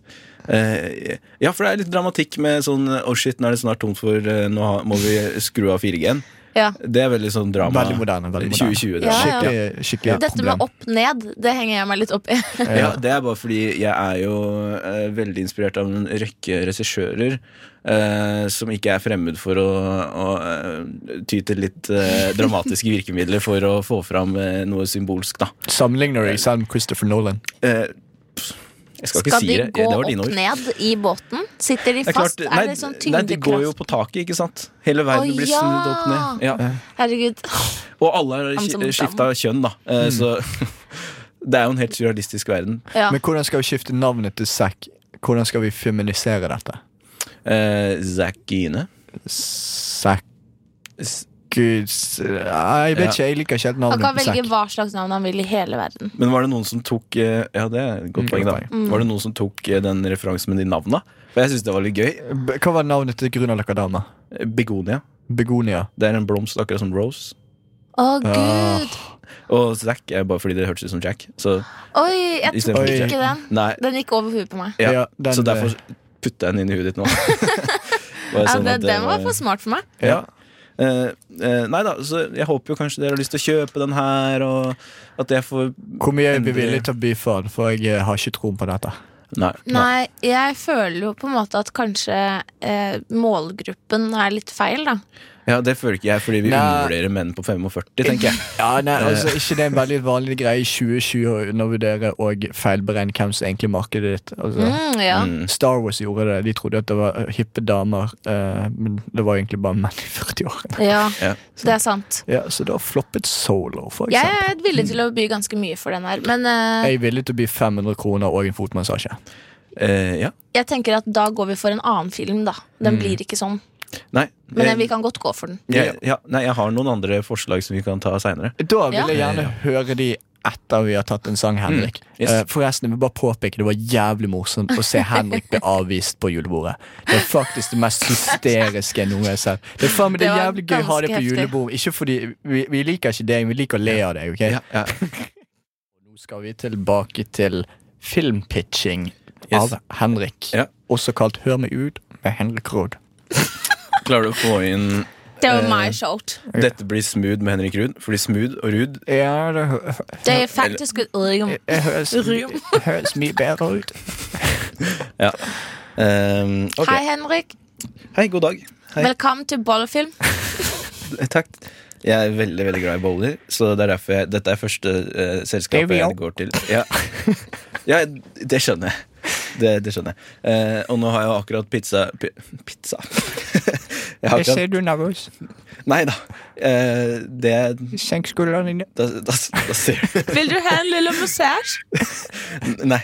Eh, ja, for det er litt dramatikk med sånn Oh shit, nå er det snart tomt for eh, Nå ha- må vi skru av 4G-en. Ja. Det er veldig sånn drama. Veldig moderne. veldig moderne 2020. Ja, ja. Skikkelig. Skikkelig, skikkelig Dette med problem. opp ned, det henger jeg meg litt opp i. Ja, det er bare fordi jeg er jo eh, veldig inspirert av en rekke regissører eh, som ikke er fremmed for å, å eh, ty til litt eh, dramatiske virkemidler for å få fram eh, noe symbolsk, da. Sammenligner du deg selv med Christopher Nolan? Eh, pff, jeg skal, ikke Skal si de det. gå det var opp dine ord. ned i båten? Sitter de Det er klart, fast? nei, er det sånn nei, de går jo tyngdekraft? på taket, ikke sant? Hele verden Å, blir ja. snudd opp ned. Ja. Herregud. Og alle Han som har skifta kjønn, da. Eh, Mm. Så det er jo en helt surrealistisk verden. Ja. Men hvordan skal vi skifte navnet til Zack? Hvordan skal vi feminisere dette? Eh, Zackine. Zack S- Gud s- Nei, Jeg vet Ja. ikke, jeg liker ikke helt Han navnet kan på velge Zack. hva slags navn han vil i hele verden. Men var det noen som tok eh, Ja, det er et godt Mm, poeng, da. godt Var det noen som tok eh, den referansen med de navna? For jeg syns det var litt gøy. B- Hva var navnet til Grünerløkka dama? Eh, Begonia. Begonia. Det er en blomst, akkurat som Rose. Å, gud! Og Zack er bare fordi det hørtes ut som Jack. Så Oi, jeg Istedenfor tok Oi. ikke den. nei. Den gikk over huet på meg. Ja, Ja, den, eh, så derfor putta jeg den inn i huet ditt nå. Bare Ja, sånn det, at det den var var- for smart for meg. Ja. Eh, eh, nei da, så jeg håper jo kanskje dere har lyst til å kjøpe den her, og at jeg får Hvor mye er vi Endelig. villige til å by for, for jeg eh, har ikke troen på dette. Nei. Nei, jeg føler jo på en måte at kanskje eh, målgruppen er litt feil, da. Ja, Det føler ikke jeg, fordi vi Nei. undervurderer menn på 45, tenker jeg. Ja, nei, altså, ikke det er en veldig vanlig greie i 2020 å undervurdere og feilberegne hvem som egentlig er markedet ditt. Altså. Mm, ja. Mm. Star Wars gjorde det. De trodde at det var eh, hippe damer, eh, men det var egentlig bare menn i 40-årene. ja, Ja. det er sant. Ja, så da floppet Solo, for Jeg eksempel. er villig til å by ganske mye for den her, men eh, Jeg er villig til å by 500 kroner og en fotmassasje. Eh, ja. jeg tenker at da går vi for en annen film, da. Den blir ikke sånn. Nei, Men eh, vi kan godt gå for den. jeg, Mm. ja, nei, jeg har noen andre forslag som vi kan ta seinere. Da vil Ja. jeg gjerne Ja. høre de etter vi har tatt en sang, Henrik. yes. Eh, forresten, jeg vil bare påpeke det var jævlig morsomt å se Henrik bli avvist på julebordet. Det er faktisk det mest hysteriske jeg noen gang har sett. Det er faen meg det Det er var jævlig gøy å ha det på ganske heftig. julebord. Ikke fordi vi, vi liker ikke deg, vi liker å le av deg. ok? Ja, ja. Nå skal vi tilbake til filmpitching Yes. av Henrik. Ja. Også kalt Hør meg ut med Henrik Råd. Klarer du å få inn Det var Eh, my shout. 'Dette blir smooth' med Henrik Ruud? Fordi smooth og ruud Ja, det Det er faktisk et ord. Eh, høres, Rim. mye bedre ut. ja. Eh, ok. Hei, Henrik. Hei, god dag. Hei. Velkommen til Bollefilm. Takk. Jeg er veldig veldig glad i boller, så det er derfor jeg, dette er første eh, Det er selskapet vi jeg også. går til. Ja, ja det skjønner jeg. Det, det skjønner jeg. Eh, og nå har jeg akkurat pizza pi- Pizza? jeg har akkurat, du er nervøs. nei da. Eh, det Senk skuldrene dine. da, da, da ser du Vil du ha en lille massasje? Nei.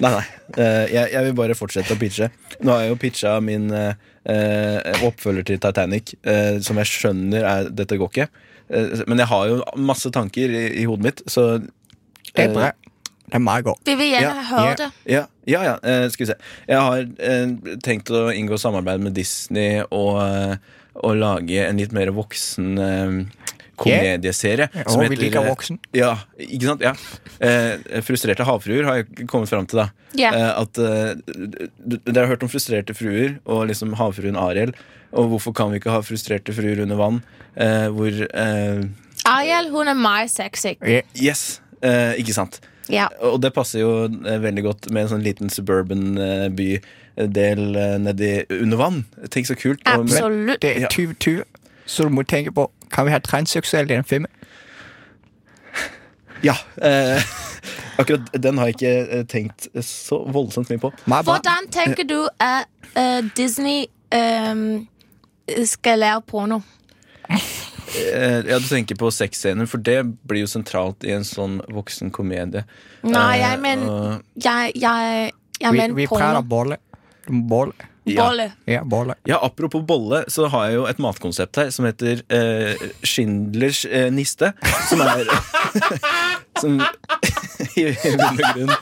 Nei, nei. Eh, jeg, jeg vil bare fortsette å pitche. Nå har jeg jo pitcha min eh, eh, oppfølger til Titanic, eh, som jeg skjønner er Dette går ikke. Eh, men jeg har jo masse tanker i, i hodet mitt, så Det er bra. Det er meg òg. Vi vil gjerne Ja, høre det. Ja, ja, ja. Eh, skal vi se. Jeg har eh, tenkt å inngå samarbeid med Disney og, eh, og lage en litt mer voksen eh, komedieserie. eh, Og vi liker voksen. Ja, ikke sant? Ja. Eh, frustrerte havfruer har jeg kommet fram til, da. Ja. Eh, at, eh, d- d- dere har hørt om frustrerte fruer og liksom havfruen Ariel. Og hvorfor kan vi ikke ha frustrerte fruer under vann? Eh, hvor eh, Ariel, hun er meg sexy. Ja. Yes! Eh, ikke sant? Ja. Og det passer jo eh, veldig godt med en sånn liten suburban eh, bydel eh, nedi under vann. Tenk så kult. og- Absolutt. Det Ja. er 2020, så du må tenke på Kan vi ha transseksuelle i den filmen? Ja. Eh, akkurat den har jeg ikke eh, tenkt så voldsomt mye på. Meg bare- Hvordan tenker du at eh, Disney ehm, skal lære porno? Eh, ja, Du tenker på sexscener, for det blir jo sentralt i en sånn voksen komedie. Nei, Eh, jeg mener og- Jeg, jeg, jeg Vi, mener vi prater porno. bolle. Bolle. ja. Bolle. Ja, bolle. ja, Apropos bolle, så har jeg jo et matkonsept her som heter eh, Schindlers eh, niste. Som er Som i bunn og grunn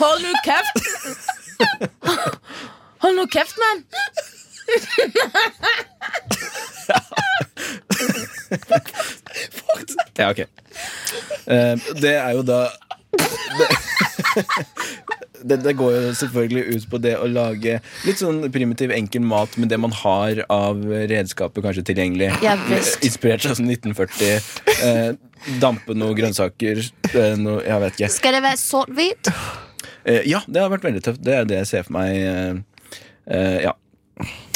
Hold nå kjeft! Hold nå kjeft, mann! Ja, ok. Eh, det er jo da det, det, det går jo selvfølgelig ut på det å lage litt sånn primitiv, enkel mat med det man har av redskaper kanskje tilgjengelig. Ja, visst. Inspirert av sånn 1940. Eh, dampe noen grønnsaker. Eh, noe, jeg vet ikke. Skal det være sort-hvit? Eh, ja, det har vært veldig tøft. Det er det jeg ser for meg. eh, eh, ja.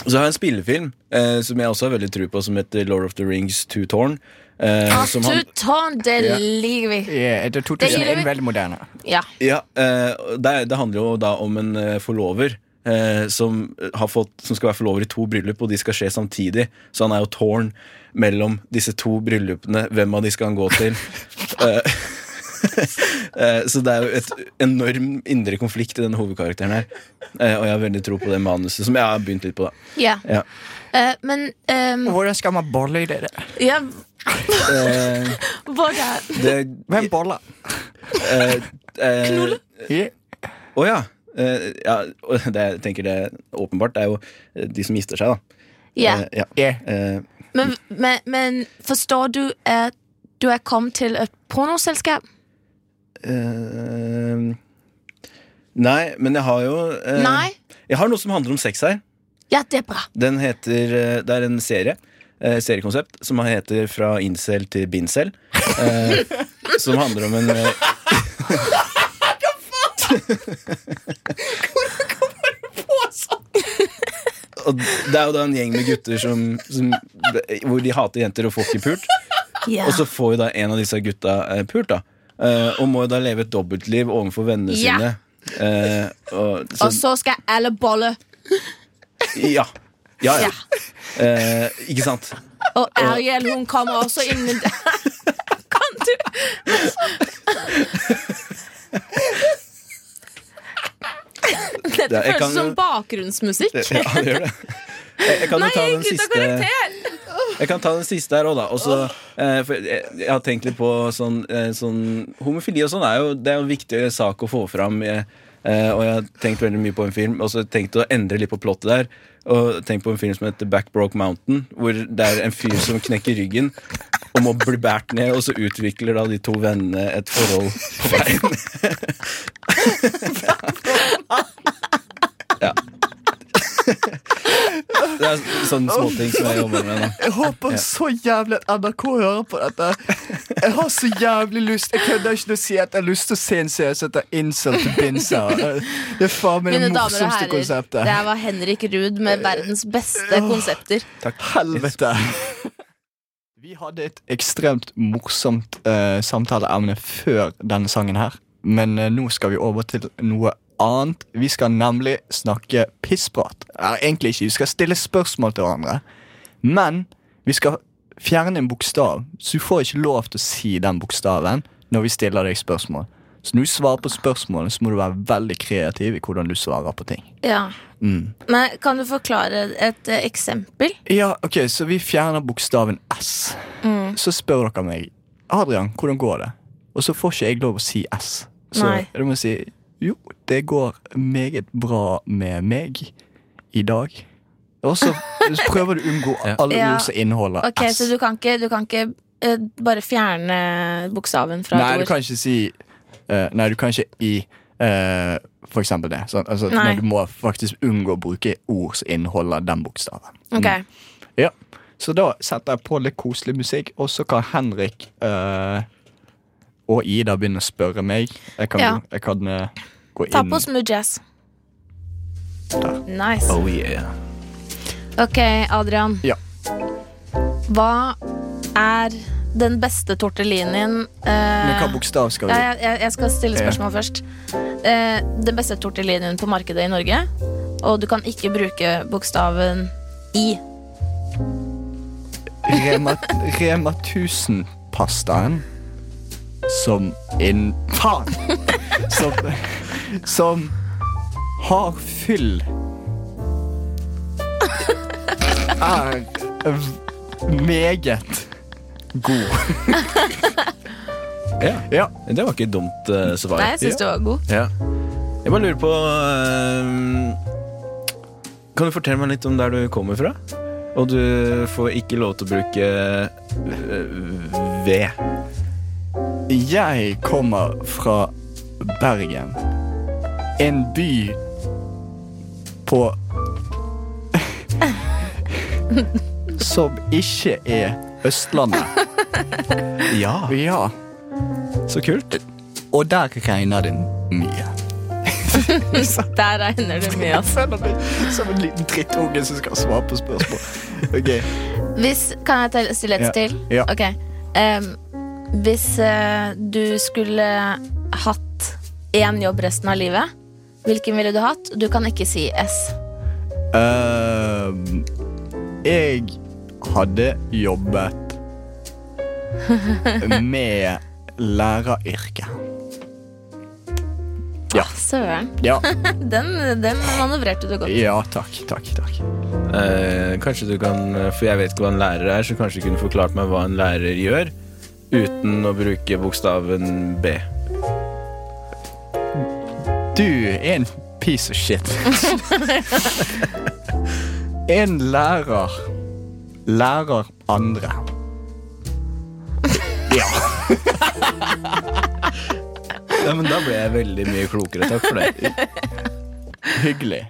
Så har jeg en spillefilm eh, som jeg også har veldig tro på, som heter Lord of the Rings Two Tårn. eh, Ah, som han- Tutan, det Ja. liker vi. Ja, det er 2001, Det gir- veldig moderne. Ja. Ja, eh, det, det handler jo da om en eh, forlover eh, som, har fått, som skal være forlover i to bryllup, og de skal skje samtidig. Så han er jo tårn mellom disse to bryllupene. Hvem av de skal han gå til? Eh, eh, Så det er jo et enorm indre konflikt i denne hovedkarakteren her. Eh, Og jeg har veldig tro på det manuset, som jeg har begynt litt på, da. ja. Ja. Eh, men ehm, Hvordan skal man bolle i det? der? ja, Eh, Hvordan Det eh, Hvem boller? Knolle? Ja. Å ja. Eh, ja. og Det jeg tenker det er åpenbart, det er jo eh, de som gifter seg, da. Ja. Eh, ja. Ja. Eh, Men, men, men forstår du at du er kommet til et pornoselskap? eh, nei, men jeg har jo eh, Nei? Jeg har noe som handler om sex her. Ja, det er bra. Den heter, eh, det er en serie. eh, seriekonsept som heter Fra incel til bincel. eh, som handler om en eh, Og det er jo da en gjeng med gutter som, som, hvor de hater jenter og får ikke pult. Ja. Og så får jo da en av disse gutta eh, pult, da. Eh, og må jo da leve et dobbeltliv overfor vennene Ja. sine. Altså- Eh, og, så, Og så skal alle bolle. ja. Ja, ja. Ja. Eh, ikke sant? Og Ariel, hun kommer også innen Kan du Dette Ja, jeg kan føles som jo- bakgrunnsmusikk. Ja, det gjør det. Jeg, jeg kan jo ta den siste Jeg kan ta den siste her òg, da. Og så, eh, for jeg, jeg har tenkt litt på sånn, eh, sånn Homofili og sånn er jo Det er jo en viktig sak å få fram. eh, eh, og jeg har tenkt veldig mye på en film, og så har jeg tenkt å endre litt på plottet der. Og tenkt på en film som heter Backbroke Mountain, hvor det er en fyr som knekker ryggen og må bli båret ned, og så utvikler da de to vennene et forhold på veien. ja. Det er sånne småting som jeg jobber med nå. Jeg håper så jævlig at NRK hører på dette. Jeg har så jævlig lyst Jeg kødder ikke til å si at jeg har lyst til å se en serie som heter Incel til Binser. Det er faen meg det Mine damer og morsomste herrer, det konseptet. her var Henrik Ruud med verdens beste konsepter. Helvete. Vi hadde et ekstremt morsomt eh, samtaleemne før denne sangen her, men eh, nå skal vi over til noe annet. Vi skal nemlig snakke pissprat. Ja, egentlig ikke, vi skal stille spørsmål til hverandre. Men vi skal fjerne en bokstav, så du får ikke lov til å si den bokstaven når vi stiller deg spørsmål. Så når du svarer på spørsmålene, så må du være veldig kreativ i hvordan du svarer på ting. Ja. Mm. Men kan du forklare et eh, eksempel? Ja, ok, så vi fjerner bokstaven S. Mm. så spør dere meg Adrian, hvordan går det? Og så får ikke jeg lov å si S. Så Nei. jeg må si jo, det går meget bra med meg i dag. Og så prøver du å unngå Ja. alle Ja. ord som inneholder Ok, S. Så du kan ikke, du kan ikke eh, bare fjerne bokstaven fra Nei, et du ord? kan ikke si eh, Nei, du kan ikke i eh, For eksempel det. Sånn, altså, Nei. men du må faktisk unngå å bruke ord som inneholder den bokstaven. Ok. Ja. Så da setter jeg på litt koselig musikk, og så kan Henrik eh, og Ida begynne å spørre meg. Jeg kan, Ja. jeg kan eh, gå Ta inn på smooth jazz. Nice. Oh yeah. Ok, Adrian. Ja. Hva er den beste tortellinien eh, Men hva bokstav skal vi ja, jeg, jeg skal stille spørsmål først. Eh, den beste tortellinien på markedet i Norge. Og du kan ikke bruke bokstaven I. Rema, Rema 1000-pastaen som en Faen! Som, som har fyll Er v- meget god. Ja. Ja. Det var ikke et dumt eh, svar. Nei, jeg syns du var god. Ja. Jeg bare lurer på eh, Kan du fortelle meg litt om der du kommer fra? Og du får ikke lov til å bruke eh, ved. Jeg kommer fra Bergen. En by på Som ikke er Østlandet. Ja, Ja, så kult. og der regner det mye. Der regner du mye, altså. Føler meg som en liten drittunge som skal svare på spørsmål. Ok, Hvis, kan jeg telle- stille et Ja. til? Ja. Ok. Em, hvis eh, du skulle hatt én jobb resten av livet, hvilken ville du hatt? Du kan ikke si S. ehm, Jeg hadde jobbet med læreryrket. Ja. Åh, Søren. Ja, Den, den manøvrerte du godt. ja takk, takk, takk. Eh, kanskje du kan For jeg vet ikke hva en lærer er, så kanskje du kunne forklart meg hva en lærer gjør uten å bruke bokstaven B. Du er en piece of shit. en lærer lærer andre. Ja. Ja, men da ble jeg veldig mye klokere. Takk for det. Hyggelig.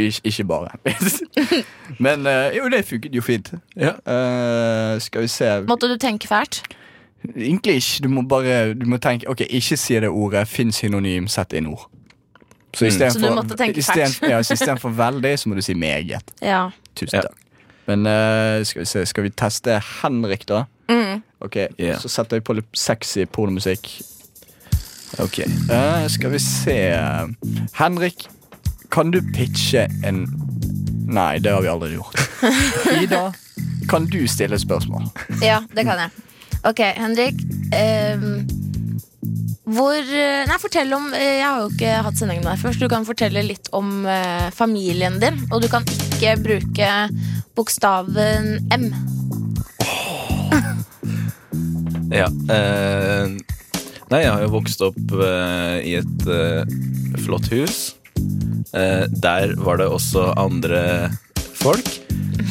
Ik ikke bare. Men eh, jo, det funket jo fint. Ja. Eh, skal vi se Måtte du tenke fælt? Egentlig ikke. Du må bare du må tenke Ok, ikke si det ordet. Finn synonym, sett inn ord. Så Mm. Så du måtte tenke fælt. istedenfor ja, så i stedet for veldig, så må du si meget. Ja. Tusen Ja. takk. Men eh, skal vi se, skal vi teste Henrik, da? Mm. Ok, Ja. Så setter vi på litt sexy pornomusikk. Ok. Eh, skal vi se Henrik, kan du pitche en Nei, det har vi aldri gjort. Ida, kan du stille spørsmål? ja, det kan jeg. Ok, Henrik. em, hvor eh, Nei, fortell om eh, Jeg har jo ikke hatt sendingen der først. Du kan fortelle litt om eh, familien din, og du kan ikke bruke bokstaven M. Ja. eh, nei, jeg har jo vokst opp eh, i et eh, flott hus. Eh, der var det også andre folk.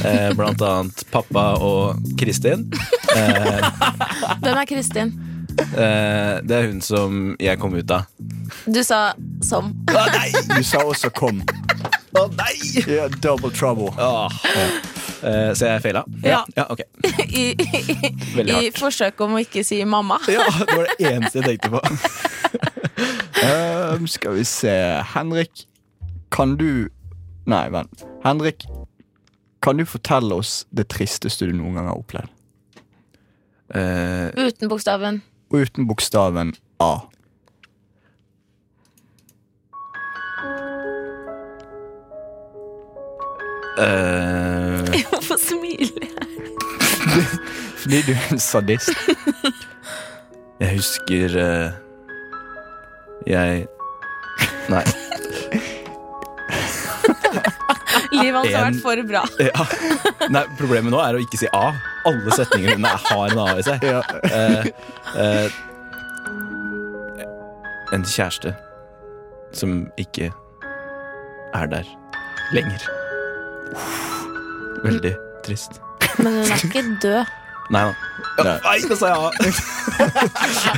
Eh, blant annet pappa og Kristin. Hvem er Kristin? Eh, det er hun som jeg kom ut av. Du sa som. Du sa også 'kom'. Å nei! Ja, double trouble. Eh, så jeg feila? Ja. ja. Ok. I, i, Veldig i hardt. forsøk om å ikke si mamma. Ja, det var det eneste jeg tenkte på. Ehm, skal vi se Henrik, kan du Nei, vent. Henrik, kan du fortelle oss det tristeste du noen gang har opplevd? Eh, Uten bokstaven. Og uten bokstaven A. eh, Hvorfor smiler jeg? Fordi du er en sadist. Jeg husker eh, Jeg Nei. Livet hans har En- vært for bra. Ja. Nei, problemet nå er å ikke si A. Alle setninger hun er- har en A i seg. Ja. Eh, eh, en kjæreste som ikke er der lenger. Veldig trist. Men hun er ikke død. Nei da. Nei. Nei, nå sa jeg A!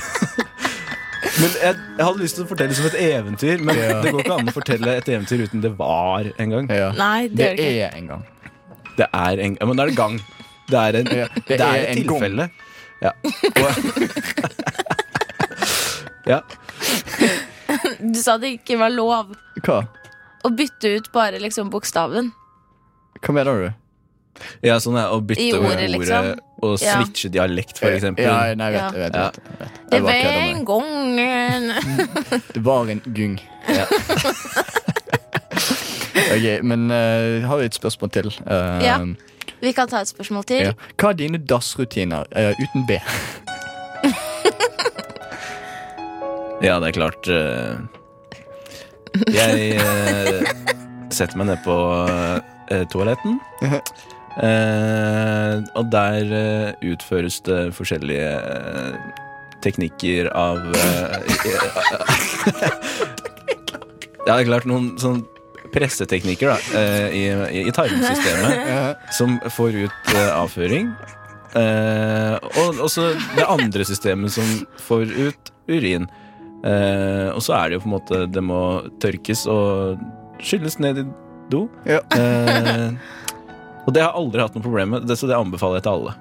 Men jeg, jeg hadde lyst til å fortelle det som et eventyr, men Ja. det går ikke an å fortelle et eventyr uten det var en gang. Ja. Nei, det, Det gjør det ikke. er en gang. Det er en ja, Men da er det gang. Det er, en, Ja, det er, et en gang. tilfelle. Ja. Og, ja. Du sa det ikke var lov Hva? å bytte ut bare liksom bokstaven Hva mener du? ja, sånn er Å bytte i over ordet, ordet liksom. og Ja. switche dialekt, for eksempel. Ja, nei, jeg vet, jeg vet, Ja. jeg vet, jeg vet. Det Jeg var bare kødder en med gang deg. Det var en gung. ok, men eh, har vi et spørsmål til? Eh, Ja. Vi kan ta et spørsmål til. ja. Hva er dine dassrutiner eh, uten B? Ja, det er klart. eh, jeg eh, setter meg ned på eh, toaletten. Eh, og der eh, utføres det forskjellige eh, teknikker av eh, Ja, det er klart noen sånn presseteknikker da, eh, i, i tarmsystemet som får ut eh, avføring. Eh, og også det andre systemet som får ut urin. Eh, og så er det jo på en måte Det må tørkes og skylles ned i do. Ja. Eh, og det har jeg aldri hatt noe problem med, det, så det anbefaler jeg til alle.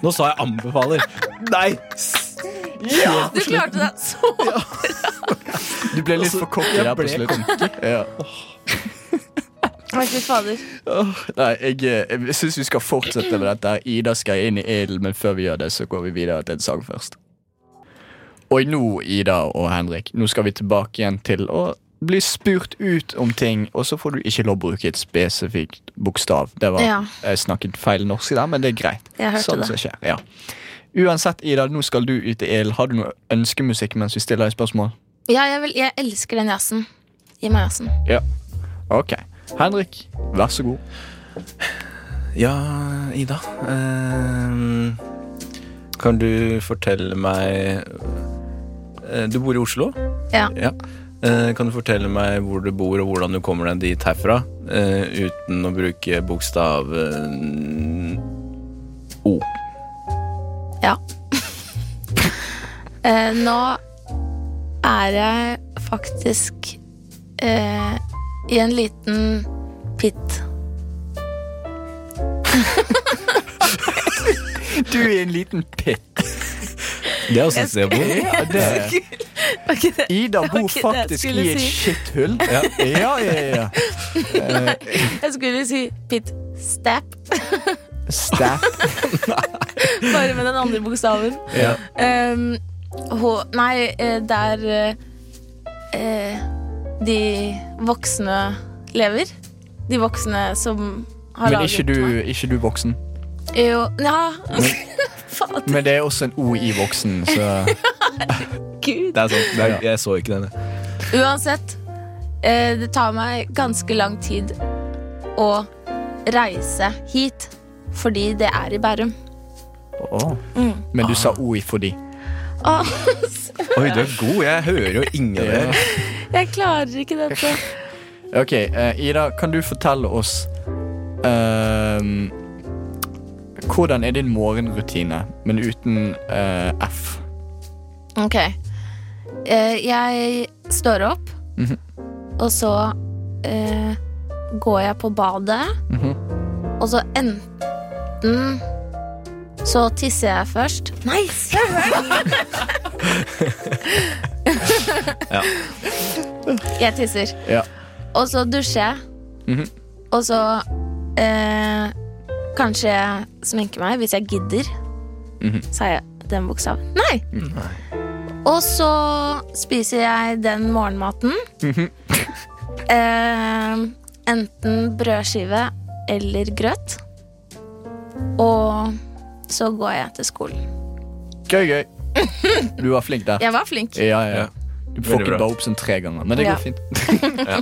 Nå sa jeg 'anbefaler'. Nei! s- Du klarte det så Du Altså, ble litt for cocky jeg der på ble slutten. Ja. Nei, fy fader. Åh, nei, jeg, eh, jeg syns vi skal fortsette med dette. her. Ida skal inn i ilden, men før vi gjør det, så går vi videre til en sang først. Og nå, Ida og Henrik, nå skal vi tilbake igjen til å bli spurt ut om ting, og så får du ikke lov å bruke et spesifikt bokstav. Det var, Ja. Jeg snakket feil norsk der, men det er greit. Jeg hørte sånn det. som skjer, ja. Uansett, Ida, nå skal du ut i ilden. Har du noe ønskemusikk mens vi stiller deg spørsmål? Ja, jeg, vil, jeg elsker den jazzen. Gi meg jazzen. Ja. Ok. Henrik, vær så god. Ja, Ida. eh, kan du fortelle meg eh, Du bor i Oslo? Ja. Eh, kan du fortelle meg hvor du bor, og hvordan du kommer deg dit herfra? eh, uten å bruke bokstaven O. Ja. Eh, nå er jeg faktisk eh, i en liten pit. Du er en liten pitt. Det er også et sted å bo. Ja, det er Ida bor ikke det jeg faktisk skulle i et si. skitthull. Ja, ja, ja. ja. Jeg skulle si pit-stap, Stæp. bare med den andre bokstaven. Ja. Um, hå- nei, eh, der eh, eh, de voksne lever. De voksne som har Men laget ikke du, meg. ikke du voksen. Jo, ja. Fader, Men det er også en O i voksen, så gud. Det er sant. Det er, jeg så ikke den. jeg. Uansett, eh, det tar meg ganske lang tid å reise hit. Fordi det er i Bærum. Åh. Mm. Men du sa O i fordi. Åh, Oi, du er god. Jeg hører jo ingen av dere. jeg klarer ikke dette. Ok, eh, Ida, kan du fortelle oss ehm, Hvordan er din morgenrutine, men uten eh, F? Ok. Eh, jeg står opp, Mhm. og så eh, går jeg på badet, Mhm. og så enten så tisser jeg først. Nei, søren! Ja. Jeg tisser. Ja. Og så dusjer jeg. Mhm. Og så eh, kanskje jeg sminker meg, hvis jeg gidder. Mhm. Sa jeg den bokstaven? Nei! Og så spiser jeg den morgenmaten. eh, enten brødskive eller grøt. Og så går jeg til skolen. Gøy, gøy. Du var flink der. Jeg var flink. Ja, ja. Du får Veldig ikke bra. bare opp sånn tre ganger, men det Ja. går fint. ja.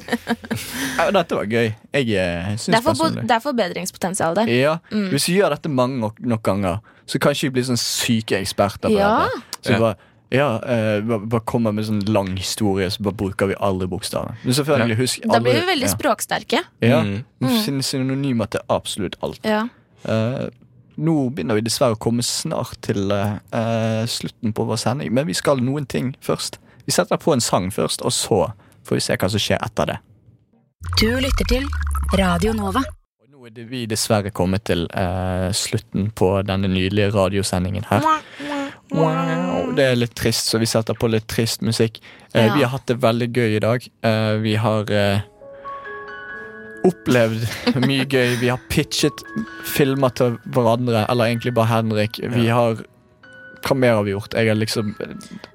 men Dette var gøy. Jeg eh, Det er, syns for, personlig det er forbedringspotensial der. Mm. ja. Hvis vi gjør dette mange nok, nok ganger, så kanskje vi blir sånn syke eksperter. på Ja. dette. Så vi Ja. bare, ja, eh, bare, bare kommer med sånn lang historie, så bare bruker vi alle bokstavene. Men selvfølgelig, husk Da blir alle- vi veldig ja. språksterke. Ja. Mm. Syn- Synonymer til absolutt alt. Ja. Eh, nå begynner vi dessverre å komme snart til eh, eh, slutten på vår sending, men vi skal noen ting først. Vi setter på en sang først, og så får vi se hva som skjer etter det. Du lytter til Radio Nova. Og nå er det vi dessverre kommet til eh, slutten på denne nydelige radiosendingen her. Wow, det er litt trist, så vi setter på litt trist musikk. Eh, Ja. Vi har hatt det veldig gøy i dag. Eh, vi har eh, opplevd mye gøy. Vi har pitchet filmer til hverandre, eller egentlig bare Henrik. Vi har Hva mer har vi gjort? Jeg har liksom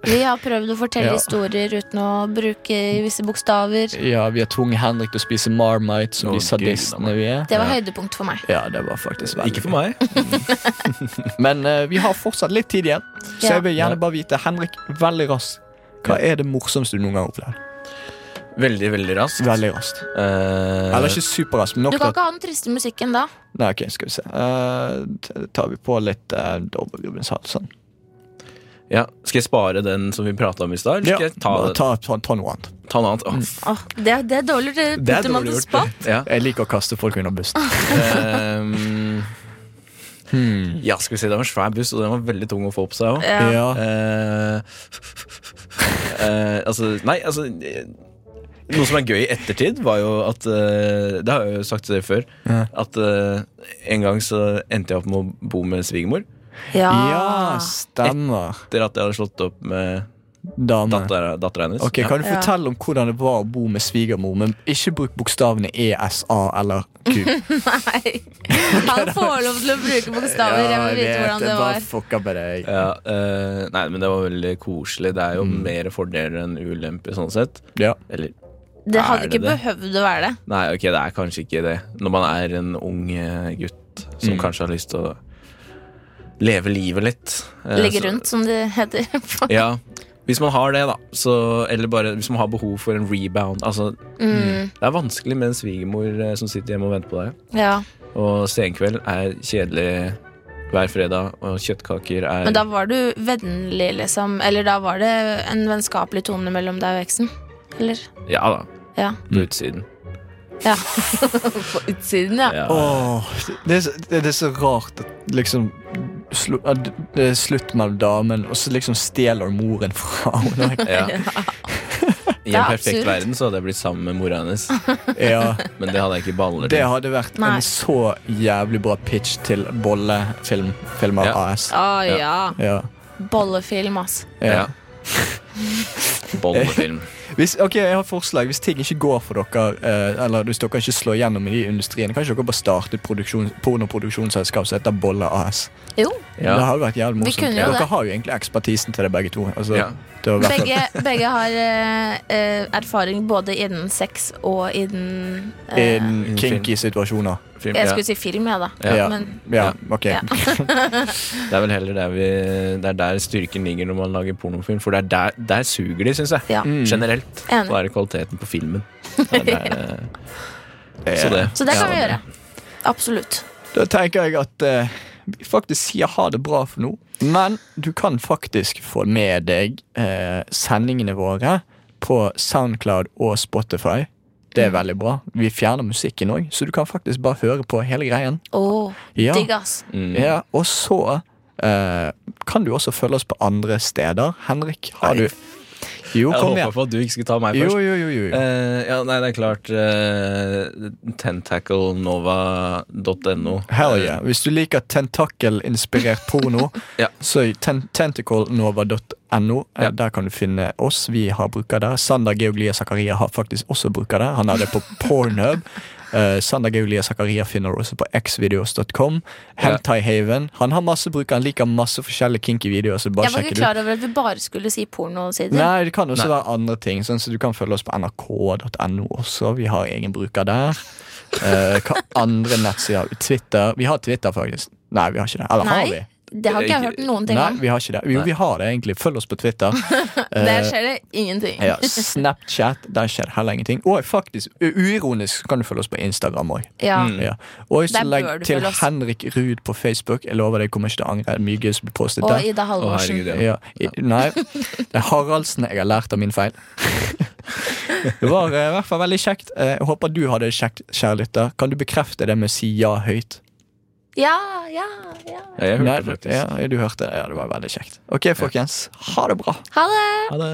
Vi har prøvd å fortelle Ja. historier uten å bruke visse bokstaver. Ja, vi har tvunget Henrik til å spise Marmite, som Å, de gud, sadistene vi er. Det var høydepunkt for meg. Ja, det var faktisk veldig Ikke for meg. Men eh, vi har fortsatt litt tid igjen, så Ja. jeg vil gjerne bare vite, Henrik, veldig raskt, hva er det morsomste du noen gang har opplevd? Veldig, veldig raskt. Veldig raskt. Eh, Eller ikke superraskt, men Du nok til kan at ikke ha den triste musikken da. Nei, ok, skal vi se. Eh, t- tar vi på litt uh, Dobbeltgubben Salsen? ja. Skal jeg spare den som vi prata om i stad, eller skal jeg ta, ta, ta, ta noe annet. ta noe annet? Åh, f- Åh, det, det er dårlig. Det det er putter man dårlig på gjort. spott. Ja. Jeg liker å kaste folk under bussen. Ehm, Ja, skal vi si det var en svær buss, og den var veldig tung å få på seg òg. Ja. Ja. Eh, altså, nei, altså eh, Noe som er gøy i ettertid, var jo at eh, Det har jeg jo sagt til dere før. Ja. At eh, en gang så endte jeg opp med å bo med svigermor. Ah. ja, stemmer. Etter at jeg hadde slått opp med Dame. dattera dattera hennes. Ok, Ja. Kan du Ja. fortelle om hvordan det var å bo med svigermor, men ikke bruk bokstavene ESA eller Q? Nei. Han får lov til å bruke bokstaver. Jeg vil vite hvordan det bare var. fucka med deg. Ja, eh, nei, men det var veldig koselig. Det er jo Mm. mer fordeler enn ulemper, sånn sett. Ja. Eller Det Er hadde det ikke det? behøvd å være det. Nei, ok, det er kanskje ikke det. Når man er en ung eh, gutt som Mm. kanskje har lyst til å leve livet litt. eh, Ligge så- rundt, som det heter. Ja. Hvis man har det, da. Så, eller bare hvis man har behov for en rebound. Altså, Mm, det er vanskelig med en svigermor eh, som sitter hjemme og venter på deg. ja. Og senkveld er kjedelig hver fredag, og kjøttkaker er Men da var du vennlig, liksom. Eller da var det en vennskapelig tone mellom deg og eksen. Eller? Ja da. Ja. På utsiden. ja. På utsiden, ja. Ja. Åh, det, er så, det, det er så rart at liksom slu, at Det er slutt mellom damen, og så liksom stjeler moren fra henne. Ja. I en Det er perfekt absurd. verden så hadde jeg blitt sammen med mora hennes, Ja, men det hadde jeg ikke baller det til. hadde vært Nei. en så jævlig bra pitch til Bollefilm Filmer Ja. AS. Å ja. Ja. Bollefilm, ass. Ja. Ja. Bollefilm. Hvis, ok, jeg har et forslag Hvis ting ikke går for dere, eh, eller hvis dere ikke slår gjennom i industrien, kan ikke dere bare starte et produksjon, pornoproduksjonsselskap som heter Bolle AS? Jo. Ja. Det hadde vært jævlig Vi morsomt. kunne jo Dere det. har jo egentlig ekspertisen til det, begge to. Altså, Ja. det var i hvert fall- Begge, begge har eh, eh, erfaring både innen sex og innen eh, Innen kinky situasjoner. Film, Jeg ja. skulle si film, jeg, da. Ja. Ja. Men Ja, ok. Ja. Det er vel heller der, vi, det er der styrken ligger når man lager pornofilm, for det er der, der suger de, syns jeg. Ja. Mm. Generelt. Enig. Da er det kvaliteten på filmen. Det er der, eh, Så det. Så det Ja. kan vi gjøre. Absolutt. Da tenker jeg at eh, vi faktisk sier ha det bra for nå. Men du kan faktisk få med deg eh, sendingene våre på Soundcloud og Spotify. Det Mm. er veldig bra. Vi fjerner musikken òg, så du kan faktisk bare høre på hele greien. Åh, Ja. digg, ass. Mm. Ja, og så eh, kan du også følge oss på andre steder. Henrik, har Nei. du Jo, Jeg kom håpa igjen. på at du ikke skulle ta meg Jo, først. jo, jo. jo, jo. Eh, ja, nei, det er klart uh, Tentaclenova.no. Hell yeah. Hvis du liker tentakel-inspirert porno, Ja. så ten tentaclenova.no. eh, Ja. Der kan du finne oss. Vi har bruker der. Sander Geoglia Zakaria har faktisk også bruker der. Han har det på Pornhub. Eh, Sander Geoglia Zakaria finner du også på xvideos.com. Hentai Haven. Han har masse brukere. Han liker masse forskjellige kinky videoer. Så bare Jeg var sjekk ikke det ut. klar over at vi bare skulle si pornosider. Nei, det kan også Nei. være andre ting. Sånn, så Du kan følge oss på nrk.no også. Vi har egen bruker der. Eh, hva andre nettsider? Twitter. Vi har Twitter, faktisk. Nei, vi har ikke det. Eller Nei. har vi? Det har ikke jeg hørt noen ting Nei, om. vi har ikke det. Jo, Nei. vi har det egentlig. Følg oss på Twitter. Der Eh, skjer det ingenting. ja, Snapchat, der skjer det heller ingenting. Og faktisk, u- uironisk så kan du følge oss på Instagram òg. Ja. Mm. Ja. Og så Der legg bør du til følge oss. Henrik Ruud på Facebook. Jeg lover deg, jeg kommer ikke til å angre. Det er Mye gøy som blir postet Og der. Ida Å, herregud, Halvorsen. ja. Ja. I, nei, det er Haraldsen jeg har lært av min feil. Det var eh, i hvert fall veldig kjekt. Eh, Jeg håper du hadde det kjekt, kjære lytter. Kan du bekrefte det med å si ja høyt? Ja, ja, ja. Ja, jeg Nei, hørte det faktisk. Ja, du hørte det. Ja, det var veldig kjekt. Ok, folkens. Ha det bra. Ha det! Ha det.